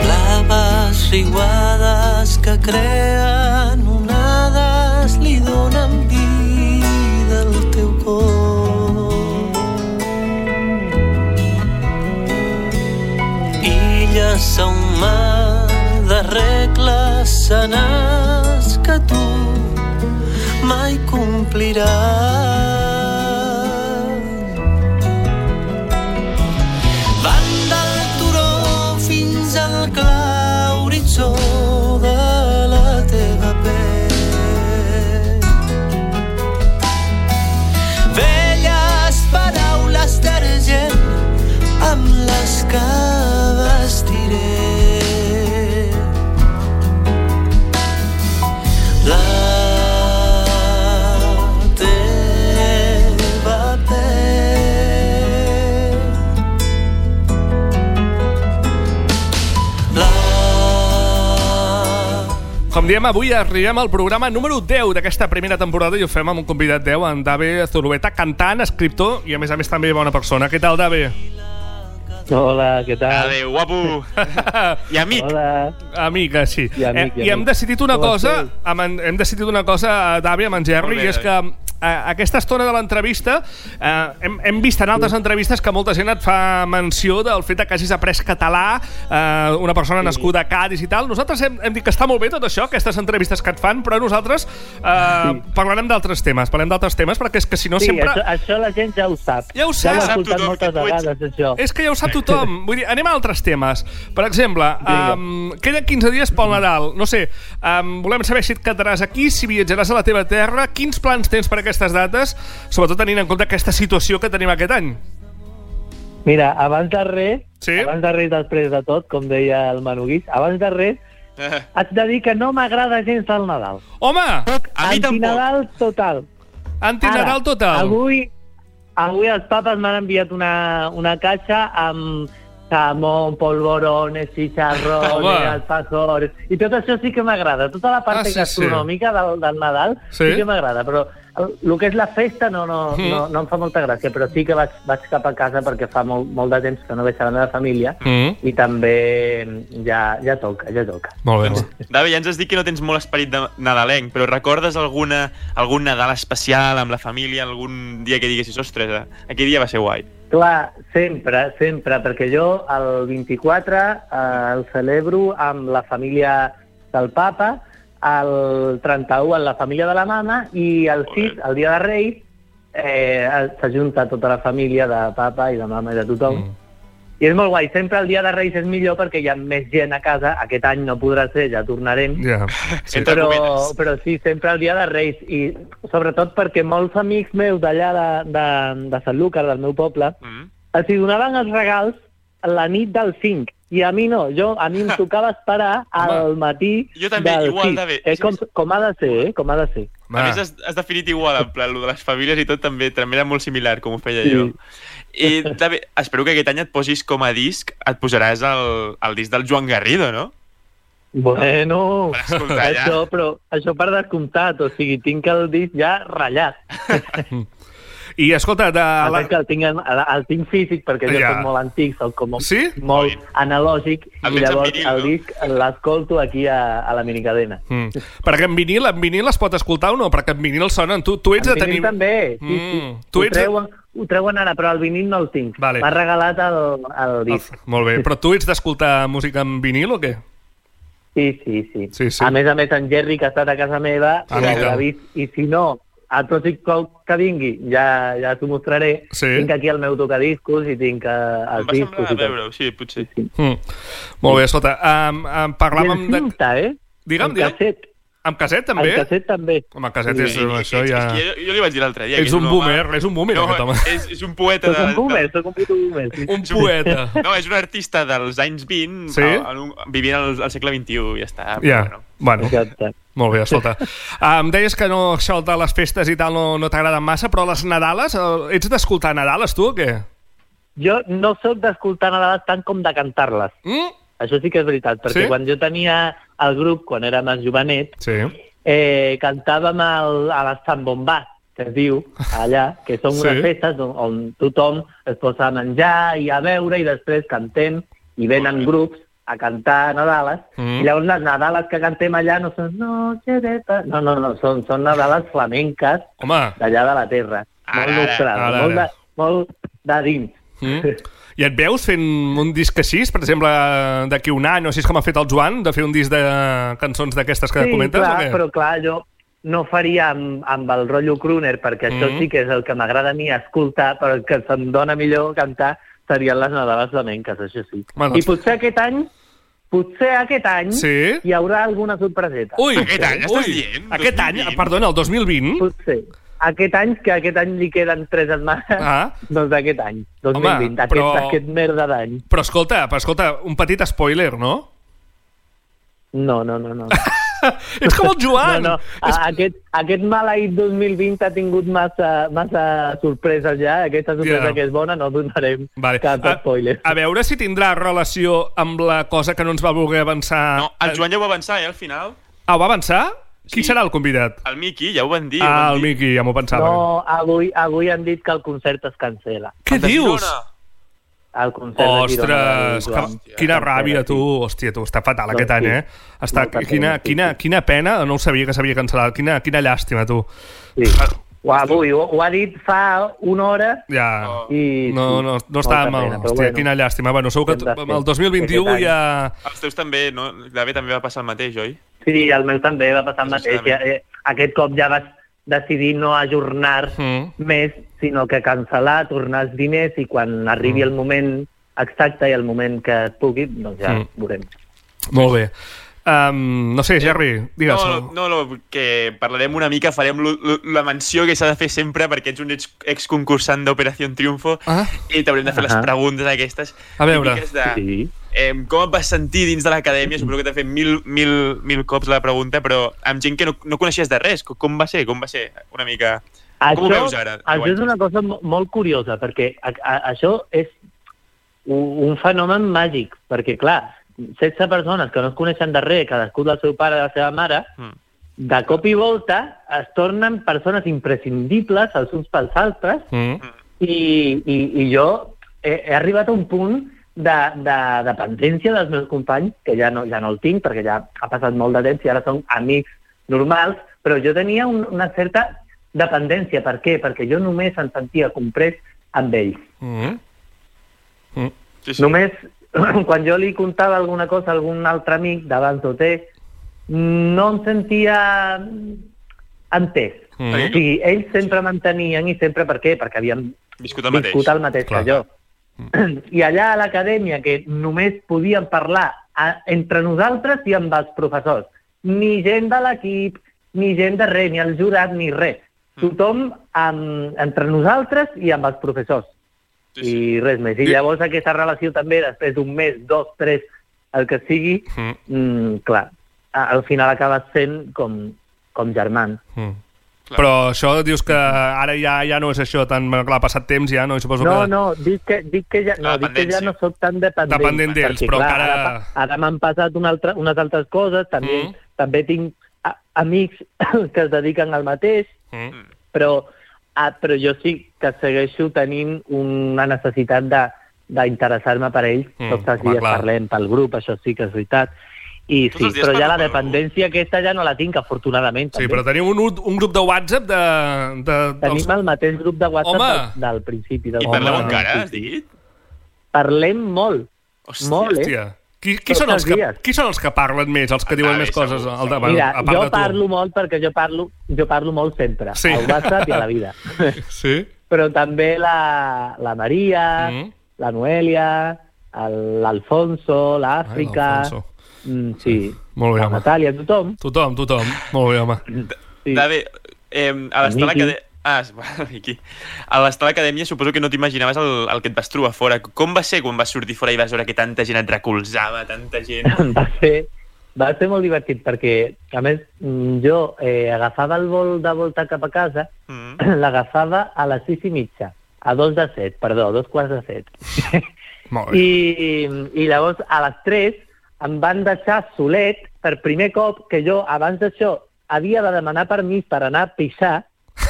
Blaves riuades que creen onades li donen vida al teu cor. Illes a un mar de regles senars que tu mai compliràs. Com diem, avui arribem al programa número 10 d'aquesta primera temporada i ho fem amb un convidat 10, en Dave Zulueta, cantant, escriptor i a més a més també bona persona. Què tal, Dave? Hola, què tal? Adéu, [LAUGHS] guapo! I amic! Hola. Amic, eh, sí. I, amic, i I hem amic. decidit una Com cosa, esteu? amb en, hem decidit una cosa, eh, Davi, amb en Gerri, Molt bé, i és que Davi. eh, aquesta estona de l'entrevista eh, hem, hem vist en altres entrevistes que molta gent et fa menció del fet de que hagis après català, eh, una persona nascuda a Cádiz i tal. Nosaltres hem, hem dit que està molt bé tot això, aquestes entrevistes que et fan, però nosaltres eh, parlarem d'altres temes, parlem d'altres temes, perquè és que si no sí, sempre... això, això la gent ja ho sap. Ja ho sap. Ja Ja ho he sap escoltat tothom moltes que tu ets- vegades, això. És que ja ho sap tothom. Vull dir, anem a altres temes. Per exemple, Vinga. um, queden 15 dies pel Nadal. No sé, um, volem saber si et quedaràs aquí, si viatjaràs a la teva terra, quins plans tens per aquestes dates, sobretot tenint en compte aquesta situació que tenim aquest any. Mira, abans de res, sí? abans de res després de tot, com deia el Manuguís, abans de res, haig de dir que no m'agrada gens el Nadal. Home! A mi Antinadal total. Antinadal Ara, total. Avui, avui els papes m'han enviat una, una caixa amb jamón, polvorones, Home. chicharrones, alfajores... I tot això sí que m'agrada. Tota la part Ah, ah, sí, sí, sí. gastronòmica del, del Nadal sí, Sí? sí que m'agrada, però el, el que és la festa no, no, Mm. mm. no, no em fa molta gràcia, però sí que vaig, vaig cap a casa perquè fa molt, molt de temps que no veig a la meva família Mm. i també ja, ja toca, ja toca. Molt bé. Dave, ja ens has dit que no tens molt esperit de nadalenc, però recordes alguna, algun Nadal especial amb la família, algun dia que diguessis, ostres, eh, aquell dia va ser guai. Clar, sempre, sempre, perquè jo el 24 eh, el celebro amb la família del papa, el 31 amb la família de la mama i el 6, el dia de Reis, eh, el- s'ajunta tota la família de papa i de mama i de tothom. Mm. I és molt guai, sempre el dia de Reis és millor perquè hi ha més gent a casa, aquest any no podrà ser, ja tornarem, Ja. Sí, però, però sí, sempre el dia de Reis i sobretot perquè molts amics meus d'allà de, de, de Sant Lúcar, del meu poble, mm. els hi donaven els regals la nit del 5 i a mi no, jo, a [LAUGHS] mi em tocava esperar al matí jo també, del igual, 6. David. És com, com ha de ser, eh? Com ha de ser. Ah. A més, has, has definit igual, en plan, lo de les famílies i tot també, també era molt similar, com ho feia Sí. jo. I, Dave, espero que aquest any et posis com a disc, et posaràs el, el disc del Joan Garrido, no? Bueno, escoltar, ja. això, però, això per descomptat, o sigui, tinc el disc ja [LAUGHS] ratllat. I escolta, de la... que el tinc, en, el, el tinc físic perquè Ah, jo Ja. soc molt antic, soc com sí? molt analògic El i tens en llavors vinil, el no? disc l'escolto aquí a, a la minicadena. Mm. Perquè en vinil, en vinil es pot escoltar o no? Perquè en vinil sonen. Tu, tu ets En de tenir... vinil també, sí, sí. Mm. Tu ho, ets... de- treuen, ho treuen ara, però el vinil no el tinc. Vale. M'ha regalat el, el disc. Ah, Molt bé, però tu ets d'escoltar música en vinil o què? Sí, sí, sí. sí, sí. A més a més, en Jerry, que ha estat a casa meva, Ah, ho mira. haurà vist, i si no, el pròxim cop que vingui, ja, ja t'ho mostraré. Sí. Tinc aquí el meu tocadiscos i tinc eh, els Va discos. semblar i a tot. veure-ho, sí, potser. Mm. Molt bé, escolta, um, um, parlàvem... I en cinta, eh? Digue'm, En digue'm. caset. Amb caset, també? En caset, també. Home, caset és... Sí, això ja... I Jo, jo li vaig dir l'altre dia. Ets que un home- boomer, és un boomer, no, aquest [LAUGHS] home. És, és un poeta. Soc un boomer, soc un puto boomer. Un poeta. No, és un artista dels anys 20, Sí? sí? al, al, vivint al, al segle XXI, ja està. [LAUGHS] Ja, bueno. Exacte. Molt bé, escolta. Em deies que no, això de les festes i tal no, no t'agraden massa, però les Nadales, eh, ets d'escoltar Nadales, tu, o què? Jo no sóc d'escoltar Nadales tant com de cantar-les. Mm? Això sí que és veritat, perquè Sí? sí? quan jo tenia el grup, quan era més jovenet, Sí. eh, cantàvem el, a les Sant Bombà, que es diu, allà, que són Sí. sí. unes festes on, on tothom es posa a menjar i a beure i després cantem i venen grups a cantar Nadales. Mm. Mm. I llavors les Nadales que cantem allà no són noche de... pa-". No, no, no, són, són Nadales flamenques d'allà de la terra. Ara, molt ara, nostrades, ara, molt, ara. de, molt de dins. [LAUGHS] Mm? I et veus fent un disc així, per exemple, d'aquí un any, o així és com ha fet el Joan, de fer un disc de cançons d'aquestes que sí, comentes? clar, o què? però clar, jo no faria amb, amb el rotllo crooner, perquè mm. Mhm. això sí que és el que m'agrada a mi escoltar, però el que se'm dona millor cantar serien les Nadales flamenques, això sí. Bueno, Bueno, I potser aquest any, potser aquest any, Sí? hi haurà alguna sorpreseta. Ui, ui, Aquest any, perdona, el 2020? Potser. Aquest any, que aquest any li queden tres setmanes, Ah. [LAUGHS] doncs d'aquest any, 2020, Home, però- aquest, aquest merda d'any. Però escolta, però escolta, un petit spoiler, no? No, no, no, no. Ets com el Joan! No, Ah, no. A, aquest, aquest maleït 2020 ha tingut massa, massa sorpreses ja. Aquesta sorpresa Ja. yeah. que és bona no donarem vale. Ah. cap A- spoiler. A veure si tindrà relació amb la cosa que no ens va voler avançar... No, El Joan ja ho va avançar, eh, al final. Ah, ho va avançar? Qui serà el convidat? El Miki, ja ho van dir. Ah, el Miqui, ja m'ho pensava. No, avui, avui han dit que el concert es cancela. Què dius? El concert de Girona. Ostres, de que, Joan. quina ràbia, tu. Hòstia, tu, està fatal aquest any, sí. eh? Està, quina, quina, quina pena, no ho sabia que s'havia cancel·lat. Quina, quina llàstima, tu. Sí. Ah. Ho, avui, ho, ho ha dit fa una hora. Ja, I, no, no, no està molta mal. pena, però Hòstia, bueno. quina llàstima. Bueno, segur que Hem de fer el 2021 aquest any. ja... Els teus també, no? David també va passar el mateix, oi? Sí, el meu també va passar el mateix. Ja, eh, aquest cop ja vas decidir no ajornar Mm. més, sinó que cancel·lar, tornar els diners i quan Mm. arribi el moment exacte i el moment que es pugui, doncs ja Mm. veurem. Molt bé. Um, no sé, Eh, Jerry, digues. No, no, no, que parlarem una mica, farem lo- lo- la menció que s'ha de fer sempre perquè ets un ex- exconcursant d'Operació Triunfo Ah. i t'haurem de fer les Ahà. preguntes aquestes. A veure. típiques De, eh, com et vas sentir dins de l'acadèmia? Suposo que t'ha fet mil, mil, mil cops la pregunta, però amb gent que no, no coneixies de res. Com, com va ser? Com va ser? Una mica... com ho veus ara? deu Això és anys? una cosa mo- molt curiosa, perquè a, a, això és u- un fenomen màgic, perquè, clar, 16 persones que no es coneixen de res, cadascú del seu pare i de la seva mare, Mm. de cop i volta es tornen persones imprescindibles els uns pels altres Mm. i, i, i jo he, he arribat a un punt de, de dependència dels meus companys, que ja no, ja no el tinc perquè ja ha passat molt de temps i ara som amics normals, però jo tenia un, una certa dependència. Per què? Perquè jo només em sentia comprès amb ells. Eh? Mm. Mm. Sí, sí. Només [CLEARS THROAT] quan jo li contava alguna cosa a algun altre amic d'abans d'OT, no em sentia entès. Mm. O sigui, ells sempre mantenien i sempre per què? Perquè havíem Viscut el mateix. viscut el mateix Clar. que jo. I allà a l'acadèmia, que només podíem parlar a, entre nosaltres i amb els professors, ni gent de l'equip, ni gent de res, ni el jurat, ni res. Tothom amb, entre nosaltres i amb els professors. Sí, sí. I res més. I llavors aquesta relació també, després d'un mes, dos, tres, el que sigui, Mm. mm, clar, a- al final acabes sent com, com germans. Mm. Però això dius que ara ja ja no és això tan... Clar, ha passat temps ja, no? I Suposo No, que... no, dic que, dic que, ja, no, La dic que dependència. ja no sóc tan dependent. Dependent d'ells, perquè, però clar, encara- Ara, pa- ara m'han passat una altra, unes altres coses, també, Mm. també tinc a, amics [COUGHS] que es dediquen al mateix, Mm. però, ah, però jo sí que segueixo tenint una necessitat de d'interessar-me per ells. Mm, Mm, Tots els home, dies clar. parlem pel grup, això sí que és veritat. I Tots sí, els dies però ja parlo la dependència aquesta ja no la tinc, afortunadament. Sí, també. però tenim un, un grup de WhatsApp de... de dels... Tenim el mateix grup de WhatsApp Home! del, del principi. Del I parleu del encara, principi. has dit? Parlem molt. Hòstia, molt, eh? Hòstia. Qui, qui, són els que, qui són els que parlen més, els que diuen més coses al davant, Mira, a part jo de tu? parlo molt perquè jo parlo, jo parlo molt sempre, Sí. sí. al WhatsApp i a la [LAUGHS] vida. [LAUGHS] Sí? Però també la, la Maria, mm. la Noelia, el- l'Alfonso, l'Àfrica... l'Alfonso. Mm, sí. Molt bé, home. Natàlia, tothom. Tothom, tothom. Molt bé, home. Sí. David, eh, a l'estar a Miqui. l'acadèmia... Ah, és- [LAUGHS] bueno, Miqui. A l'estar a l'acadèmia suposo que no t'imaginaves el, el que et vas trobar fora. Com va ser quan vas sortir fora i vas veure que tanta gent et recolzava, tanta gent... [LAUGHS] va ser, va ser molt divertit perquè, a més, mm, jo eh, agafava el vol de volta cap a casa, mm. [CLEARS THROAT] l'agafava a les sis i mitja, a dos de set, perdó, a dos quarts de set. [LAUGHS] Molt bé. I, I llavors, a les 3, em van deixar solet per primer cop que jo, abans d'això, havia de demanar permís per anar a pixar,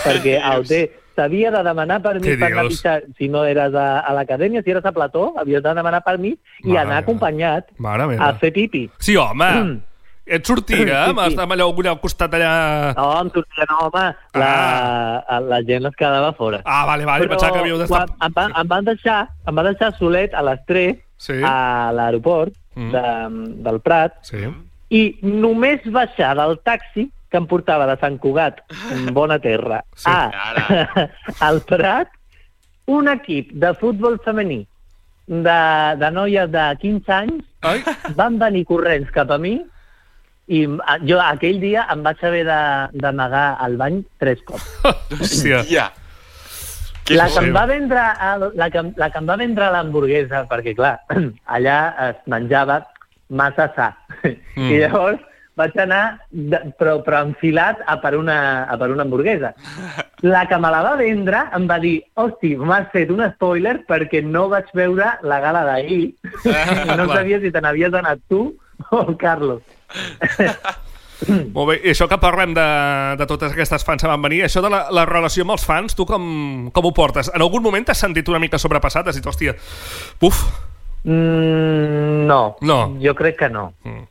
perquè a OT s'havia de demanar permís Què per anar a dius? pixar si no eres a, a l'acadèmia, si eres a plató, havies de demanar permís i Mare anar meva. acompanyat Mare a meva. fer pipi. Sí, home. [CLEARS THROAT] Et sortia, Sí, eh? sí. Amb sí, allò, allò al costat allà... No, em sortia, no, home, la, ah. la gent es quedava fora. Ah, vale, vale, pensava que havíeu d'estar- quan Em, va, em, van deixar, em van deixar solet a les 3 sí. a l'aeroport Mm. mm. de, del Prat Sí. i només baixar del taxi que em portava de Sant Cugat, Bona Terra, sí, a, [LAUGHS] al Prat, un equip de futbol femení de, de noies de 15 anys Ai. van venir corrents cap a mi i m- a- jo aquell dia em vaig haver de- d'amagar al bany tres cops. Hòstia. Ja. La que, em va vendre, el- la, que, em- la que em va vendre l'hamburguesa, perquè clar, [CLEARS THROAT] allà es menjava massa sa. Mm. Mm. I llavors vaig anar, de, però, però enfilat a per, una, a per una hamburguesa. La que me la va vendre em va dir, hosti, m'has fet un spoiler perquè no vaig veure la gala d'ahir. [LAUGHS] no clar. sabia si te n'havies anat tu o el Carlos. Molt bé, i això que parlem de, de totes aquestes fans que van venir, això de la, la relació amb els fans, tu com, com ho portes? En algun moment t'has sentit una mica sobrepassat? Has dit, hòstia, puf, Mm, no. No. jo crec que no,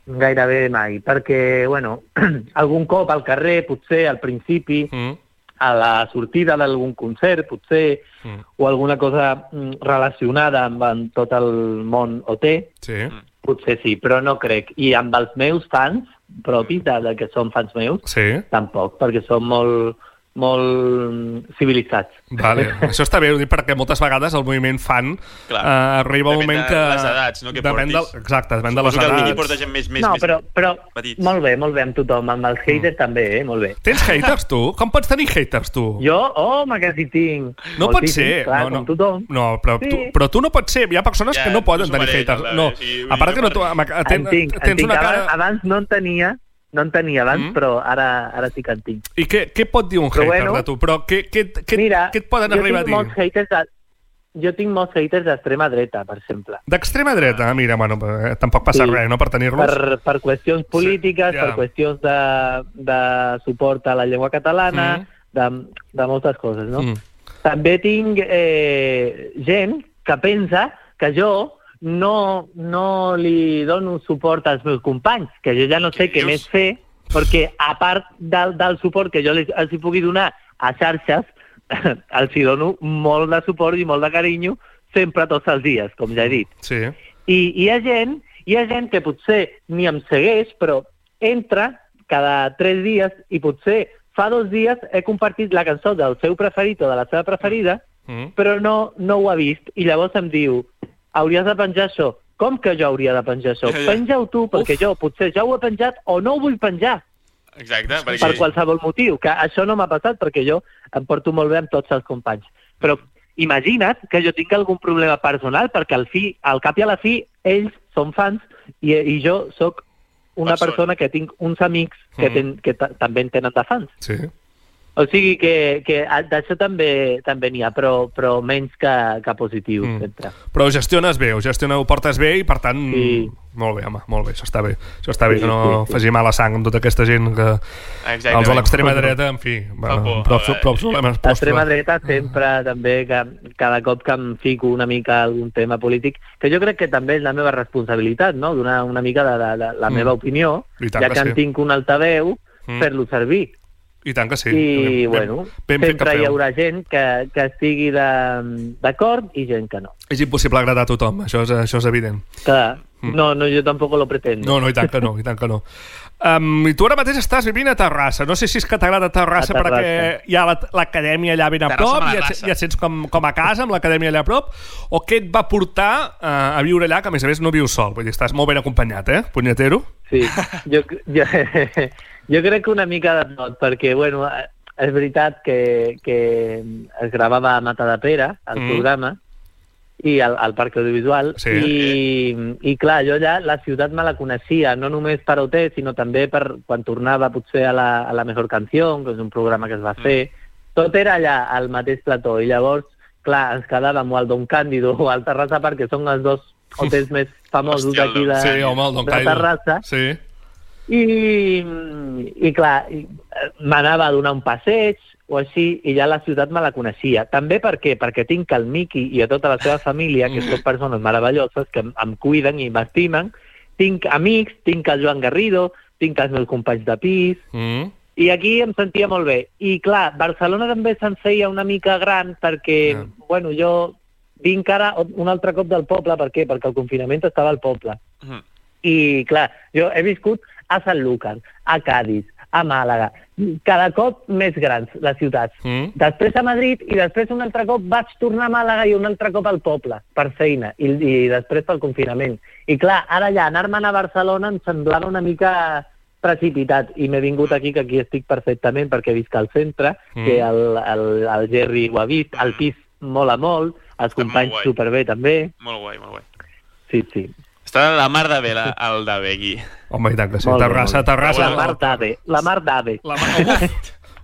gairebé mai, perquè, bueno, [CLEARS THROAT] algun cop al carrer, potser al principi, mm, a la sortida d'algun concert, potser, o alguna cosa mm, relacionada amb, amb tot el món OT, sí. potser sí, però no crec. I amb els meus fans propis, de, de que són fans meus, Sí. tampoc, perquè són molt, molt mm, civilitzats. Vale. [LAUGHS] Això està bé, ho dic perquè moltes vegades el moviment fan eh, Clar. arriba un Depèn moment de que... les edats, no? Que depèn portis. Del, exacte, depèn de les Suposo que el edats. Mini porta gent més- més- No, més però- però- Petits. Molt bé, molt bé amb tothom, amb els haters també, eh? molt bé. Tens haters, tu? Com pots tenir haters, tu? Jo, home, que si tinc. No pot Moltíssims, ser. Clar, no, no. Com tothom. No, però, Sí. tu, però tu no pots ser. Hi ha persones Ja, que no poden no s'ho tenir mereixen, haters. clar, No, bé, sí, a part que no... tu- ama- en ten- tinc, en Tens tinc. una abans, cara... abans no en tenia, no en tenia abans, Mm. però ara, ara sí que en tinc. I què, què pot dir un Però hater bueno. de tu? Però què, què, què, què et poden jo arribar a dir? tinc molts haters de, jo tinc molts haters d'extrema dreta, per exemple. D'extrema dreta, mira, bueno, eh, tampoc passa Sí. res, no?, per tenir-los. Per, per qüestions polítiques, ja. per qüestions de, de suport a la llengua catalana, de, de moltes coses, no? Mm. També tinc eh, gent que pensa que jo no, no li dono suport als meus companys, que jo ja no sé què més fer, perquè a part del, del suport que jo les, els hi pugui donar a xarxes, [LAUGHS] els hi dono molt de suport i molt de carinyo sempre tots els dies, com ja he dit. Sí. I hi ha gent, hi ha gent que potser ni em segueix, però entra cada tres dies i potser fa dos dies he compartit la cançó del seu preferit o de la seva preferida, Mm. però no, no ho ha vist. I llavors em diu, hauries de penjar això. Com que jo hauria de penjar això? Ja, ja. Penja-ho tu, perquè jo potser ja ho he penjat o no ho vull penjar Exacte, perquè... per qualsevol motiu. Que això no m'ha passat perquè jo em porto molt bé amb tots els companys. Però imagina't que jo tinc algun problema personal perquè al, fi, al cap i a la fi ells són fans i, i jo sóc una Persona. persona. Mm. que tinc uns amics que, Mhm. ten, que ta- també en tenen de fans. Sí. O sigui que, que a- d'això també també n'hi ha, però, però menys que, que positiu. Mm. Sempre. Però ho gestiones bé, ho gestiones, ho portes bé i, per tant... Sí. Molt bé, home, molt bé, això està bé. Això està bé, Sí, que no sí, sí. faci mala sang amb tota aquesta gent que... Exacte. Els de l'extrema dreta, en fi, bueno, por, prou, eh, prou problemes. prou L'extrema problemes. dreta sempre també, que cada cop que em fico una mica a algun tema polític, que jo crec que també és la meva responsabilitat, no? donar una mica de, de, de la Mm. meva opinió, I tant ja que que, en sí. tinc un altaveu, Mm. fer-lo servir. I tant que sí. I, Ben- ben- bueno, ben fet que sempre hi feu. haurà gent que, que estigui de- d'acord i gent que no. És impossible agradar a tothom, això és, això és evident. Clar, Mm. no, no, jo tampoc lo pretendo. No, no, i tant que no, i tant que no. Um, I tu ara mateix estàs vivint a Terrassa. No sé si és que t'agrada Terrassa, A Terrassa. perquè hi ha la- l'acadèmia allà ben a Terrassa prop i et, Madrassa. i et sents com, com a casa amb l'acadèmia allà a prop, o què et va portar uh, a viure allà, que a més a més no vius sol. Vull dir, estàs molt ben acompanyat, eh, punyetero? Sí, jo, jo, [LAUGHS] jo crec que una mica de tot, perquè, bueno, eh, és veritat que, que es gravava a Mata de Pere, el Mm. mm. programa, i al, al Parc Audiovisual, Sí. i, i clar, jo ja la ciutat me la coneixia, no només per OT, sinó també per quan tornava potser a la, a la Mejor Canción, que és un programa que es Mm. va fer, tot era allà, al mateix plató, i llavors, clar, ens quedàvem o al Don Càndido o al Terrassa Park, que són [LAUGHS] els dos hotels més famosos Hòstia, el d'aquí de, Don- sí, home, el Don de Càndido. Terrassa, Sí. i, i clar, i, eh, m'anava a donar un passeig o així, i ja la ciutat me la coneixia. També per què? Perquè tinc el Miqui i a tota la seva família, que són persones meravelloses, que em, em cuiden i m'estimen. Tinc amics, tinc el Joan Garrido, tinc els meus companys de pis, Mm. i aquí em sentia molt bé. I clar, Barcelona també se'n feia una mica gran perquè, yeah. bueno, jo vinc ara un altre cop del poble, per què? Perquè el confinament estava al poble. Mhm. I clar, jo he viscut a Sanlúcar, a Cádiz, a Màlaga, cada cop més grans les ciutats. Mm. Després a Madrid i després un altre cop vaig tornar a Màlaga i un altre cop al poble, per feina, i, i després pel confinament. I clar, ara ja anar-me'n a Barcelona em semblava una mica precipitat i m'he vingut aquí, que aquí estic perfectament perquè visc al centre, Mm. mm. que el, el, el Gerri ho ha vist, el pis mola molt, els companys guai. superbé també. Molt guai, molt guai. Sí, sí. Està la mar de bé, la, el de bé, aquí. Home, i tant que sí. Molt bé, Terrassa, molt bé. Terrassa. La Mar d'Ave. La Mar d'Ave. La Mar...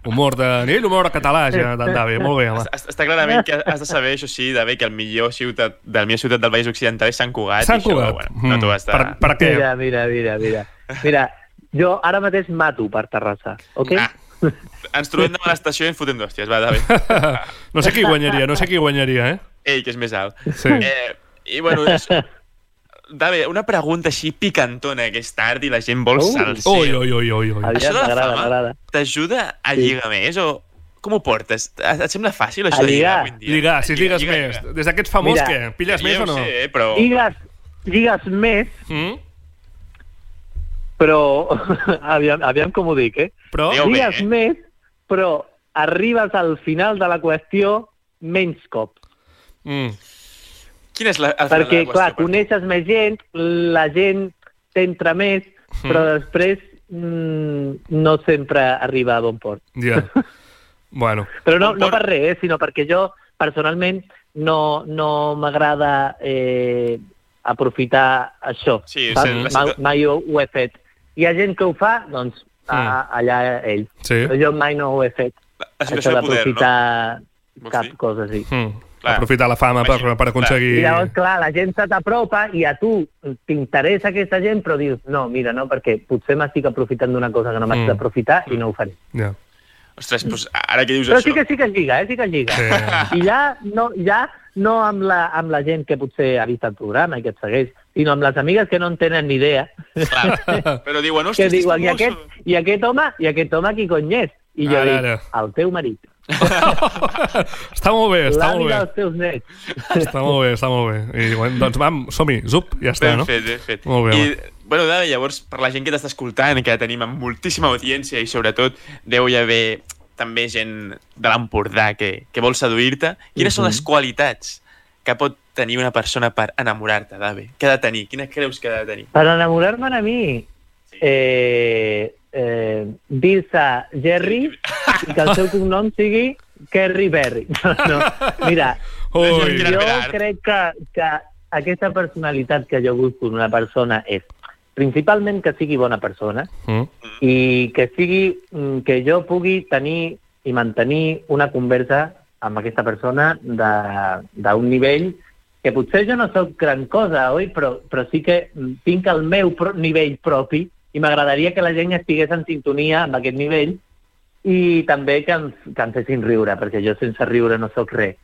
Humor de nil, humor català, ja, d'Ave. Molt bé, home. Està clarament que has de saber, això sí, de bé, que el millor ciutat, de la millor ciutat del País Occidental és Sant Cugat. Sant i això, Cugat. Mm. Bueno, no t'ho has de... Per, per què? Mira, mira, mira, mira. Mira, Jo ara mateix mato per Terrassa, ok? Ah. Ens trobem demà a l'estació i ens fotem d'hòsties, va, [LAUGHS] David. [LAUGHS] No sé qui guanyaria, no sé qui guanyaria, eh? Ell, que és més alt. Sí. Eh, I, bueno, és... David, una pregunta així picantona que és tard i la gent vol Uh. salser. Ui, ui, ui, ui, ui. Això de la m'agrada, fama m'agrada. t'ajuda a Sí. lligar més o com ho portes? Et et sembla fàcil això A de lligar lligar. avui en dia? Lligar, si lligues més. Des d'aquests famosos, Mira. què? Pilles Jo més o no? ho sé, però... Lligues, lligues més, Mm? però... [LAUGHS] aviam, aviam com ho dic, eh? Però... Lligues més, però arribes al final de la qüestió menys cops. Mm. Quin és la, el final Perquè, de la clar, qüestió? coneixes més gent, la gent t'entra més, però Mm. després mm, no sempre arriba a bon port. Ja. Bueno. Però no, no per res, eh, sinó perquè jo personalment no, no m'agrada eh, aprofitar això. Sí, saps? sí, la mai, situa- mai ho, ho he fet. Hi ha gent que ho fa, doncs a, a, allà ell. Mm. Sí. Però jo mai no ho he fet. la això situació de poder, d'aprofitar Vols cap dir? cosa així. Mm. Aprofitar la fama per, per aconseguir... I llavors, clar, la gent se t'apropa i a tu t'interessa aquesta gent, però dius, no, mira, no, perquè potser m'estic aprofitant d'una cosa que no m'haig Mm. d'aprofitar i no ho faré. [LAUGHS] Ja. Ostres, doncs, ara que dius Però Mm. això... sí que sí que es lliga, eh? Sí que es lliga. Sí. I ja no, ja no amb, la, amb la gent que potser ha vist el programa i que et segueix, sinó amb les amigues que no en tenen ni idea, Clar, però diuen, que ostres, diuen, i és aquest, i aquest home, i aquest home qui cony és? I jo Ara, dic, Ah, ara. el teu marit, [LAUGHS] Està molt bé, està molt l'avi bé. dels teus nets. Està molt bé, està molt bé. I, bueno, doncs, vam, som-hi, zup, ja està, Ben no? fet, ben fet. Molt bé, I, bueno, Dada, llavors, per la gent que t'està escoltant, que tenim amb moltíssima audiència i, sobretot, deu hi haver també gent de l'Empordà que, que vol seduir-te. Quines Mhm. són les qualitats que pot tenir una persona per enamorar-te, Dave? Què ha de tenir? Quines creus que ha de tenir? Per enamorar-me a mi, eh, eh, dir-se Jerry i que el seu cognom sigui Kerry Berry. [LAUGHS] No, mira, Ui. jo crec que, que aquesta personalitat que jo busco en una persona és principalment que sigui bona persona Mm. i que sigui mm, que jo pugui tenir i mantenir una conversa amb aquesta persona de- d'un nivell que potser jo no sóc gran cosa, oi? Però, però sí que mm, tinc el meu pro nivell propi i m'agradaria que la gent estigués en sintonia amb aquest nivell i també que em, que em fessin riure, perquè jo sense riure no sóc res.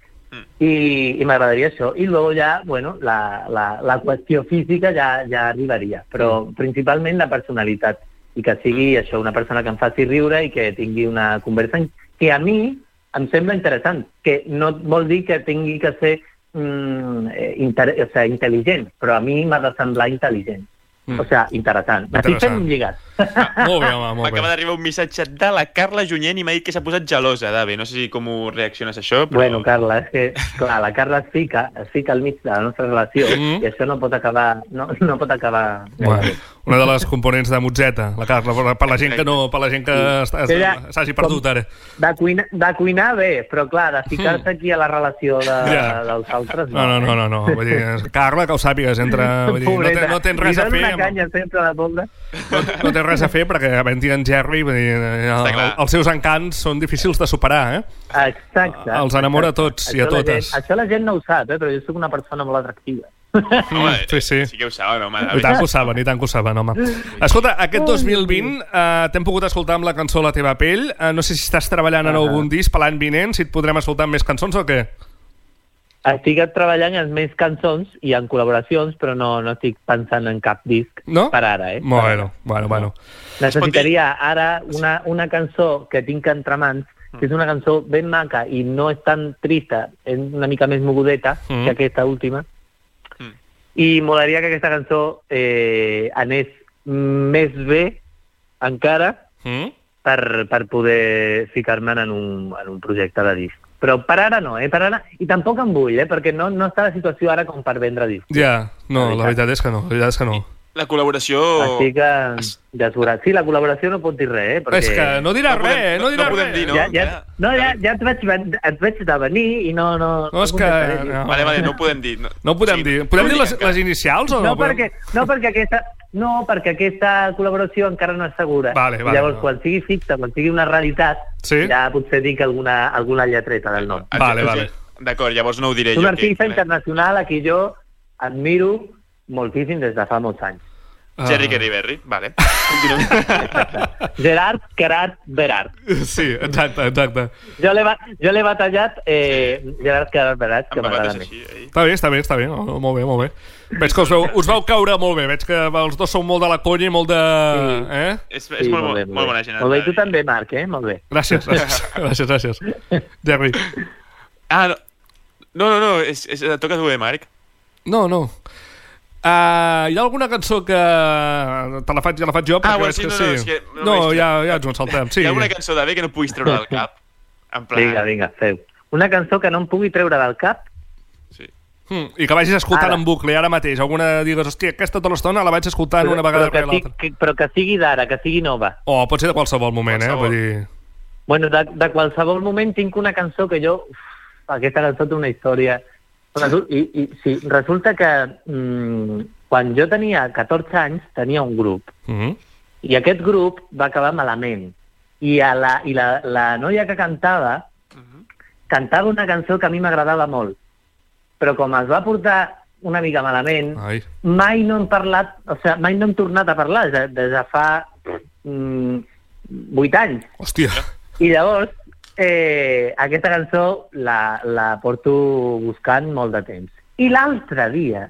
I, i m'agradaria això. I després ja, bueno, la, la, la qüestió física ja, ja arribaria, però principalment la personalitat. I que sigui això, una persona que em faci riure i que tingui una conversa in- que a mi em sembla interessant, que no vol dir que tingui que ser mm, eh, inter, o sigui, intel·ligent, però a mi m'ha de semblar intel·ligent. Mm. O sigui, interessant. M'estic fent Interessant. un lligat. Molt bé, home, molt bé. M'acaba d'arribar un missatge de la Carla Junyent i m'ha dit que s'ha posat gelosa, Dave. No sé si com ho reacciones a això, però... Bueno, Carla, és que, clar, la Carla es fica, es fica al mig de la nostra relació Mhm. i això no pot acabar, no, no pot acabar Bueno, una de les components de Motzeta, la Carla, per, per la gent que no, per la gent que està- Ella- s'hagi perdut ara. De cuinar, de cuinar bé, però clar, de ficar-se aquí a la relació de, Hmm. Ja. dels altres... No, no, no, no, no. Vull dir, Carla, que ho sàpigues, [LAUGHS] entre... Vull dir, no, eh? Pobreta, te, no tens res li a dono fer, una amb, canya sempre a la pobra. no tens res a fer perquè havent en Jerry, vull dir, eh, el, clar. els seus encants són difícils de superar, eh? Exacte. Els enamora a tots i a Això la totes. Gent, això la gent no ho sap, eh, però jo sóc una persona molt atractiva. [LAUGHS] Home, Mm, Sí, sí. eh, sí que ho saben, home, I tant David. que ho saben, i tant que ho saben, home. Escolta, aquest 2020 eh, t'hem pogut escoltar amb la cançó La teva pell. Eh, no sé si estàs treballant Ah. en algun disc per l'any vinent, si et podrem escoltar amb més cançons o què? Estic treballant en més cançons i en col·laboracions, però no, no estic pensant en cap disc No? per ara, eh? Per ara. Bueno, bueno, bueno. Necessitaria ara una, una cançó que tinc entre mans, Mm. que és una cançó ben maca i no és tan trista, és una mica més mogudeta Mm. que aquesta última. Mm. I molaria que aquesta cançó eh, anés més bé encara Mm? per, per poder ficar-me'n en, un, en un projecte de disc. Però per ara no, eh? Per ara... I tampoc en vull, eh? Perquè no, no està la situació ara com per vendre disc. Ja, no, la veritat és que no, la veritat és que no. La col·laboració... Oh. Així que... Desborat. Sí, la col·laboració no pot dir res, eh? Perquè... És que no dirà No res, podem- eh? no no- dirà no podem res. dir, no? ja, ja, clar. no, ja, ja et, vaig, ven- et vaig de venir i no... No, No, és que... contestaré. No, Vale, vale, no ho podem dir. No, no podem dir. Podem dir les, les inicials o no, no? podem? perquè, no, perquè aquesta, no, perquè aquesta col·laboració encara no és segura. Vale, vale, Llavors, no. quan sigui fixa, quan sigui una realitat, Sí. ja potser dic alguna, alguna lletreta del nom. Vale, vale. D'acord, llavors no ho diré Ah, És jo. un artista aquí, vale. internacional a qui jo admiro moltíssim des de fa molts anys. Ah. Jerry Kerry Berry, vale. [LAUGHS] Continuem. Gerard Gerard Berard. [LAUGHS] Sí, exacte, exacte. Jo l'he ba- jo l'he batallat eh, Gerard Gerard Berard, que m'agrada més. Està bé, està bé, està bé. No, no, molt bé, molt bé. Veig que us veu, us vau caure molt bé. Veig que els dos sou molt de la conya i molt de... Sí. Eh? És, és molt, molt, bé, molt, molt bona gent. Molt bé, i tu també, Marc, eh? Molt bé. Gràcies, [LAUGHS] gràcies, gràcies, gràcies. Jerry. Ah, no, no, no, no és, és, toca tu bé, Marc. No, no. Uh, hi ha alguna cançó que... Te la faig, ja la faig jo, perquè Ah, bueno, veig sí, que no, sí. no, és que no no, veig que- ja, ja ens ho saltem, sí. Hi ha una cançó d'AVE que no puguis treure del cap. En plan... Vinga, vinga, feu. Una cançó que no em pugui treure del cap? Mm, I que vagis escoltant Ara. en bucle, ara mateix. Alguna digues, hòstia, aquesta tota l'estona la vaig escoltant una vegada però, rere que, l'altra. sigui- que, però que sigui d'ara, que sigui nova. O pot ser de qualsevol moment, eh? Vull dir... Bueno, de, de qualsevol moment tinc una cançó que jo... Uf, aquesta cançó té una història. Resul, i, i, sí, resulta que mm, quan jo tenia 14 anys tenia un grup Mm i aquest grup va acabar malament. I, a la, i la, la noia que cantava Mhm. cantava una cançó que a mi m'agradava molt, però com es va portar una mica malament, Ai. mai no hem parlat, o sigui, mai no hem tornat a parlar des de, des de fa mm, 8 anys. Hòstia. I llavors, eh, aquesta cançó la, la porto buscant molt de temps. I l'altre dia,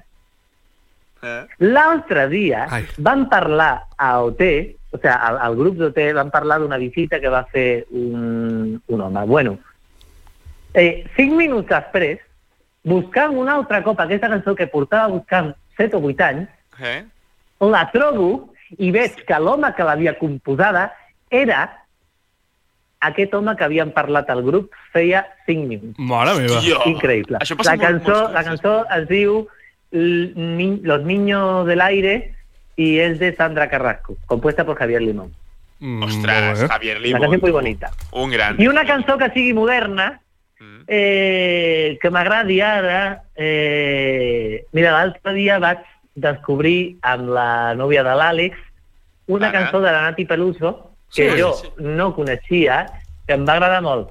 Eh? l'altre dia, Ai. van parlar a OT, o sigui, al, al grup d'OT van parlar d'una visita que va fer un, un home. Bueno, eh, cinc minuts després, buscant un altre cop aquesta cançó que portava buscant 7 o 8 anys, Eh? la trobo i veig que l'home que l'havia composada era aquest home que havien parlat al grup feia 5 minuts. Mare meva. Hòstia. Increïble. Això passa La molt- cançó, molts la cançó es diu L- Ni- Los niños del aire y es de Sandra Carrasco, compuesta por Javier Limón. Mm, Ostres, Javier La Limón. canción muy bonita. Un gran. I una cançó que sigui moderna, Mm. eh, que m'agradi ara... Eh, mira, l'altre dia vaig descobrir amb la nòvia de l'Àlex una cançó de la Nati Peluso que Sí, jo sí. no coneixia, que em va agradar molt.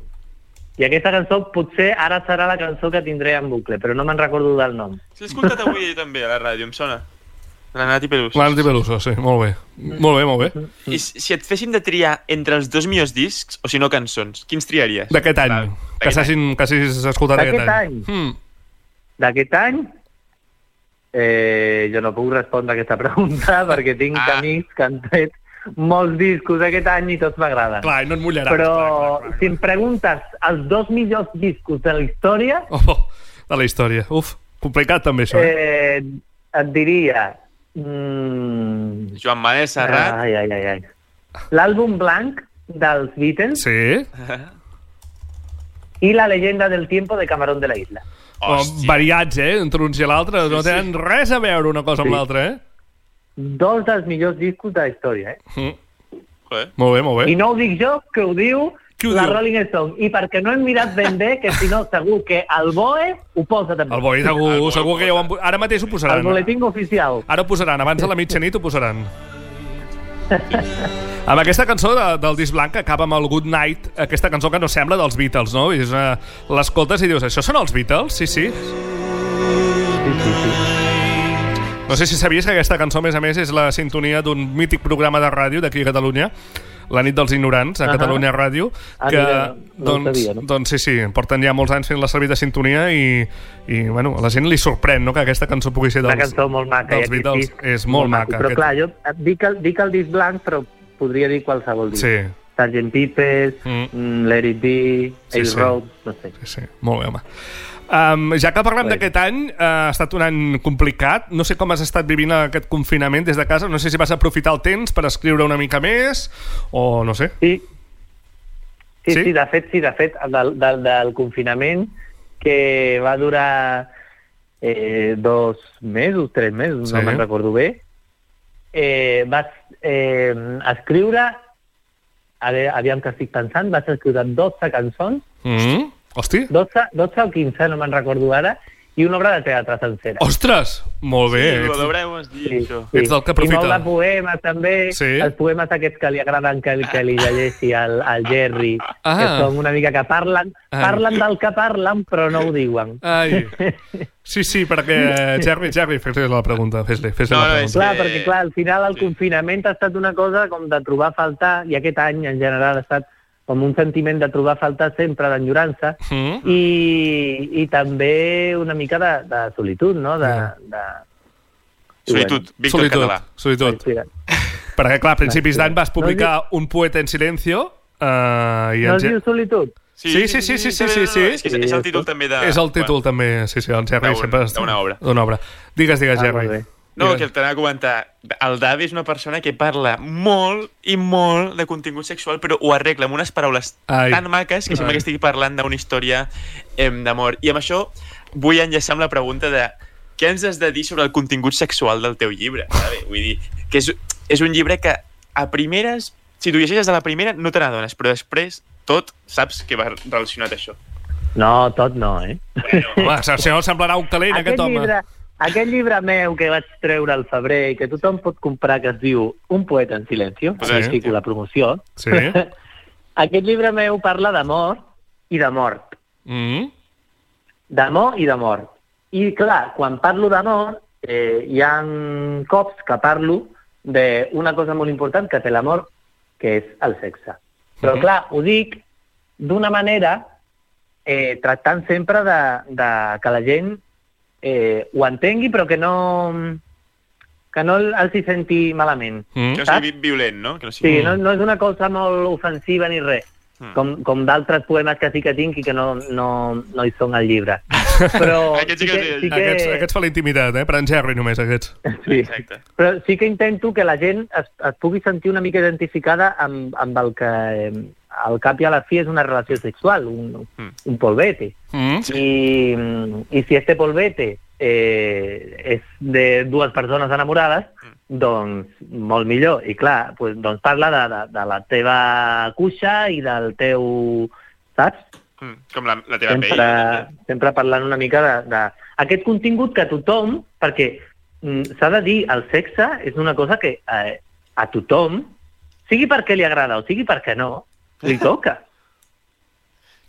I aquesta cançó potser ara serà la cançó que tindré en bucle, però no me'n recordo del nom. L'he escoltat avui també a la ràdio, em sona. La Nati Peluso. L'Anti Peluso, sí, molt bé. Molt bé, molt bé. I si si et féssim de triar entre els dos millors discs, o si no cançons, quins triaries? D'aquest any, que s'hagin- que s'hagis escoltat aquest any. Mm. D'aquest any? Eh, jo no puc respondre a aquesta [LAUGHS] pregunta perquè tinc ah. amics que han tret molts discos aquest any i tots m'agraden. Clar, i no et mullaràs, Però clar, si em preguntes els dos millors discos de la història, Oh, de la història. Uf, complicat també això, eh? eh, et diria... Mm, Joan Manel Serrat. Ai, ai, ai, ai. L'àlbum blanc dels Beatles Sí. i La leyenda del tiempo de Camarón de la Isla. O variats, eh? Entre uns i l'altre. No tenen res a veure una cosa amb Sí. l'altra, eh? Dos dels millors discos de la història, eh? Mm. Molt bé, molt bé. I no ho dic jo, que ho diu Qui ho la diu? Rolling Stone. I perquè no hem mirat ben bé, que si no, segur que el BOE ho posa també. El boi segur, segur que ja ho han... pu- Ara mateix ho posaran. eh? El boletín oficial. Ara ho posaran, abans de la mitjanit ho posaran. Amb aquesta cançó de, del disc blanc que acaba amb el Good Night, aquesta cançó que no sembla dels Beatles, no? És una... L'escoltes i dius, això són els Beatles? Sí, sí. No sé si sabies que aquesta cançó, a més a més, és la sintonia d'un mític programa de ràdio d'aquí a Catalunya, la nit dels ignorants, a Ahà. Catalunya Ràdio, Ah, que, mira, no ho doncs, sabia, no? doncs sí, sí, porten ja molts anys fent la servir de sintonia i, i bueno, a la gent li sorprèn no, que aquesta cançó pugui ser dels, Una cançó molt maca. i dels aquest Beatles. disc És molt, maca. Però aquest. clar, jo dic el, dic el disc blanc, però podria dir qualsevol disc. Sí. Sgt. Pepper's, mm. Let It Be, Sí, Ace sí. Road, no sé. Sí, sí. Molt bé, home. Um, ja que parlem d'aquest any, eh, ha estat un any complicat. No sé com has estat vivint aquest confinament des de casa. No sé si vas aprofitar el temps per escriure una mica més o no sé. Sí. Sí, sí, de fet, sí, de fet, del, del, del confinament que va durar eh, dos mesos, tres mesos, Sí. no me'n recordo bé, eh, vaig eh, escriure, a veure, aviam que estic pensant, vaig escriure 12 cançons, Mm? Hosti, 12, 12 o 15, no me'n recordo ara, i una obra de teatre sencera. Ostres! Molt bé. Sí, ets- lo Oh, Ets del que I molt aprofita. de poemes, també. Sí. Els poemes aquests que li agraden que, que li llegeixi al, al Jerry, Ah. que són una mica que parlen, Ai. parlen del que parlen, però no ho diuen. Ai. Sí, sí, perquè... Jerry, Jerry, fes-li la pregunta. Fes-li fes la pregunta. clar, perquè clar, al final el confinament ha estat una cosa com de trobar a faltar, i aquest any en general ha estat com un sentiment de trobar a faltar sempre d'enyorança Mm. i, i també una mica de, de solitud, no? De, de... Solitud, Víctor solitud, Català. Solitud. Perquè, clar, a principis d'any vas publicar No Un poeta en silencio uh, i en No es Ge- diu solitud? Sí, sí, sí, sí, sí, sí, sí. és que és- és el títol també de- És el títol bueno. també, sí, sí, el Jerry D'un- sempre... d'una obra. D'una obra. Digues, digues, Ah, molt Jerry. No, que t'anava a comentar. El Davi és una persona que parla molt i molt de contingut sexual, però ho arregla amb unes paraules Ai. tan maques que sembla Ai. que estigui parlant d'una història eh, d'amor. I amb això vull enllaçar amb la pregunta de què ens has de dir sobre el contingut sexual del teu llibre? Davi? Vull dir, que és, és un llibre que a primeres, si tu llegeixes a la primera, no te n'adones, però després tot saps que va relacionat a això. No, tot no, eh? Home, si no semblarà un calent, aquest, home. Llibre, aquest llibre meu que vaig treure al febrer i que tothom pot comprar, que es diu Un poeta en silenci, Sí. sí. estic a la promoció, Sí. aquest llibre meu parla d'amor i de mort. Mm. D'amor i de mort. I, clar, quan parlo d'amor, eh, hi ha cops que parlo d'una cosa molt important que té l'amor, que és el sexe. Però, Mhm. clar, ho dic d'una manera eh, tractant sempre de, de que la gent eh, ho entengui, però que no, que no els hi senti malament. Mm. Que no saps? sigui violent, no? Que no sigui... Sí, no, no és una cosa molt ofensiva ni res, Mm. com, com d'altres poemes que sí que tinc i que no, no, no hi són al llibre. [LAUGHS] Però Aquests, sí que, sí aquests, que, aquests fa la intimitat, eh? Per en Jerry només, aquests. Sí. Exacte. però sí que intento que la gent es, es pugui sentir una mica identificada amb, amb el que eh, al cap i a la fi és una relació sexual, un, un polvete. Mm. I, mm, I si este polvete eh, és de dues persones enamorades, Mm. doncs molt millor. I clar, pues, doncs parla de, de, de la teva cuixa i del teu... Saps? Mm, Com la, la teva pell. sempre, sempre parlant una mica de, de... Aquest contingut que tothom, perquè mm, s'ha de dir, el sexe és una cosa que eh, a tothom, sigui perquè li agrada o sigui perquè no, [LAUGHS] li toca.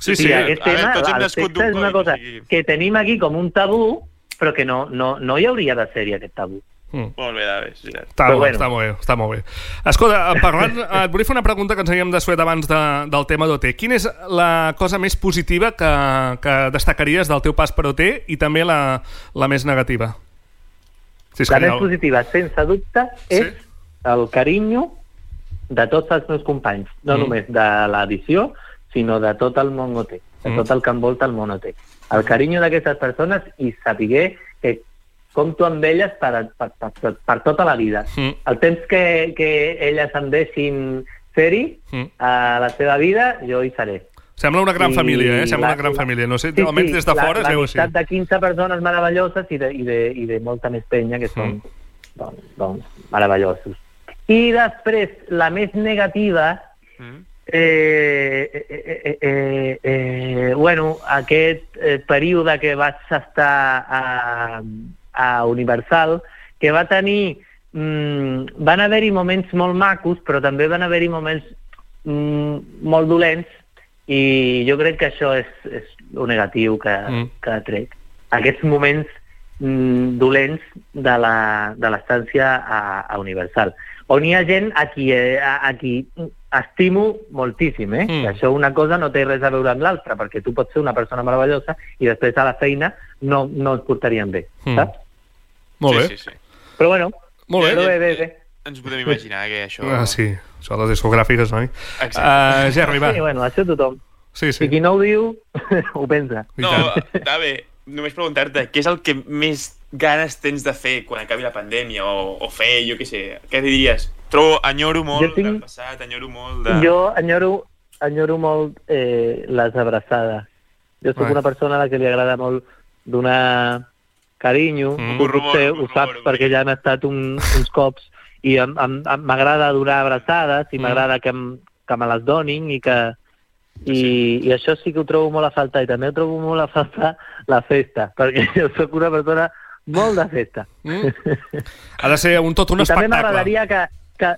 Sí, O sigui, sí, aquest a veure, este tema, tots hem el nascut sexe d'un és una coll, cosa que tenim aquí com un tabú, però que no, no, no hi hauria de ser-hi aquest tabú. Mm. Molt bé, Davi. sí, ja. Està, Però bueno. està bueno. molt bé, està molt bé. Escolta, eh, parlant, eh, et volia fer una pregunta que ens havíem desfet abans de, del tema d'OT. Quina és la cosa més positiva que, que destacaries del teu pas per OT i també la, la més negativa? Si és la que hi ha- més positiva, sense dubte, és sí. el carinyo de tots els meus companys, Mm. no mm. només de l'edició, sinó de tot el món OT, de Mm. mm. tot el que envolta el món OT. El carinyo d'aquestes persones i saber que compto amb elles per, per, per, per, per tota la vida. Mm. El temps que, que elles em deixin fer-hi Mm. a la seva vida, jo hi seré. Sembla una gran I família, eh? Sembla la- una gran la- família. No sé, almenys des de la- fora es veu així. L'amistat de 15 persones meravelloses i de, i de, i de molta més penya Mhm. que són mm. doncs, doncs, meravellosos. I després, la més negativa, eh, eh, eh, eh, eh, eh, bueno, aquest eh, període que vaig estar a, a Universal, que va tenir... Mm, van haver-hi moments molt macos, però també van haver-hi moments mm, molt dolents i jo crec que això és, és el negatiu que, mm. que trec. Aquests moments mm, dolents de la- de l'estància a, a Universal, on hi ha gent a qui, eh, a, a qui estimo moltíssim, eh? Mm. Això una cosa no té res a veure amb l'altra, perquè tu pots ser una persona meravellosa i després a la feina no, no es portarien bé, Mm. mm. saps? Molt bé. Sí, sí, sí. Però bueno, Molt bé. però bé, bé, bé. Ens podem imaginar que això... Ah, sí. Això de les discogràfiques, noi. Exacte. Uh, Jerry, va. Sí, bueno, això tothom. Sí, sí. I qui no ho diu, [LAUGHS] ho pensa. No, [LAUGHS] Dave, només preguntar-te, què és el que més ganes tens de fer quan acabi la pandèmia o, o fer, jo què sé, què diries? Trobo, enyoro molt Jo tinc... tinc- del passat, enyoro molt de... Jo enyoro, enyoro molt eh, les abraçades. Jo sóc Right. una persona a la que li agrada molt donar carinyo. Mm. Tu potser ho saps perquè ja han estat un, uns cops i em- em- em- m'agrada donar abraçades i Mm. m'agrada que, em- que me les donin i que, I, sí. I això sí que ho trobo molt a faltar, i també ho trobo molt a faltar la festa, perquè [LAUGHS] jo sóc una persona molt de festa. Mm. Ha de ser un tot un I també espectacle. m'agradaria que, que...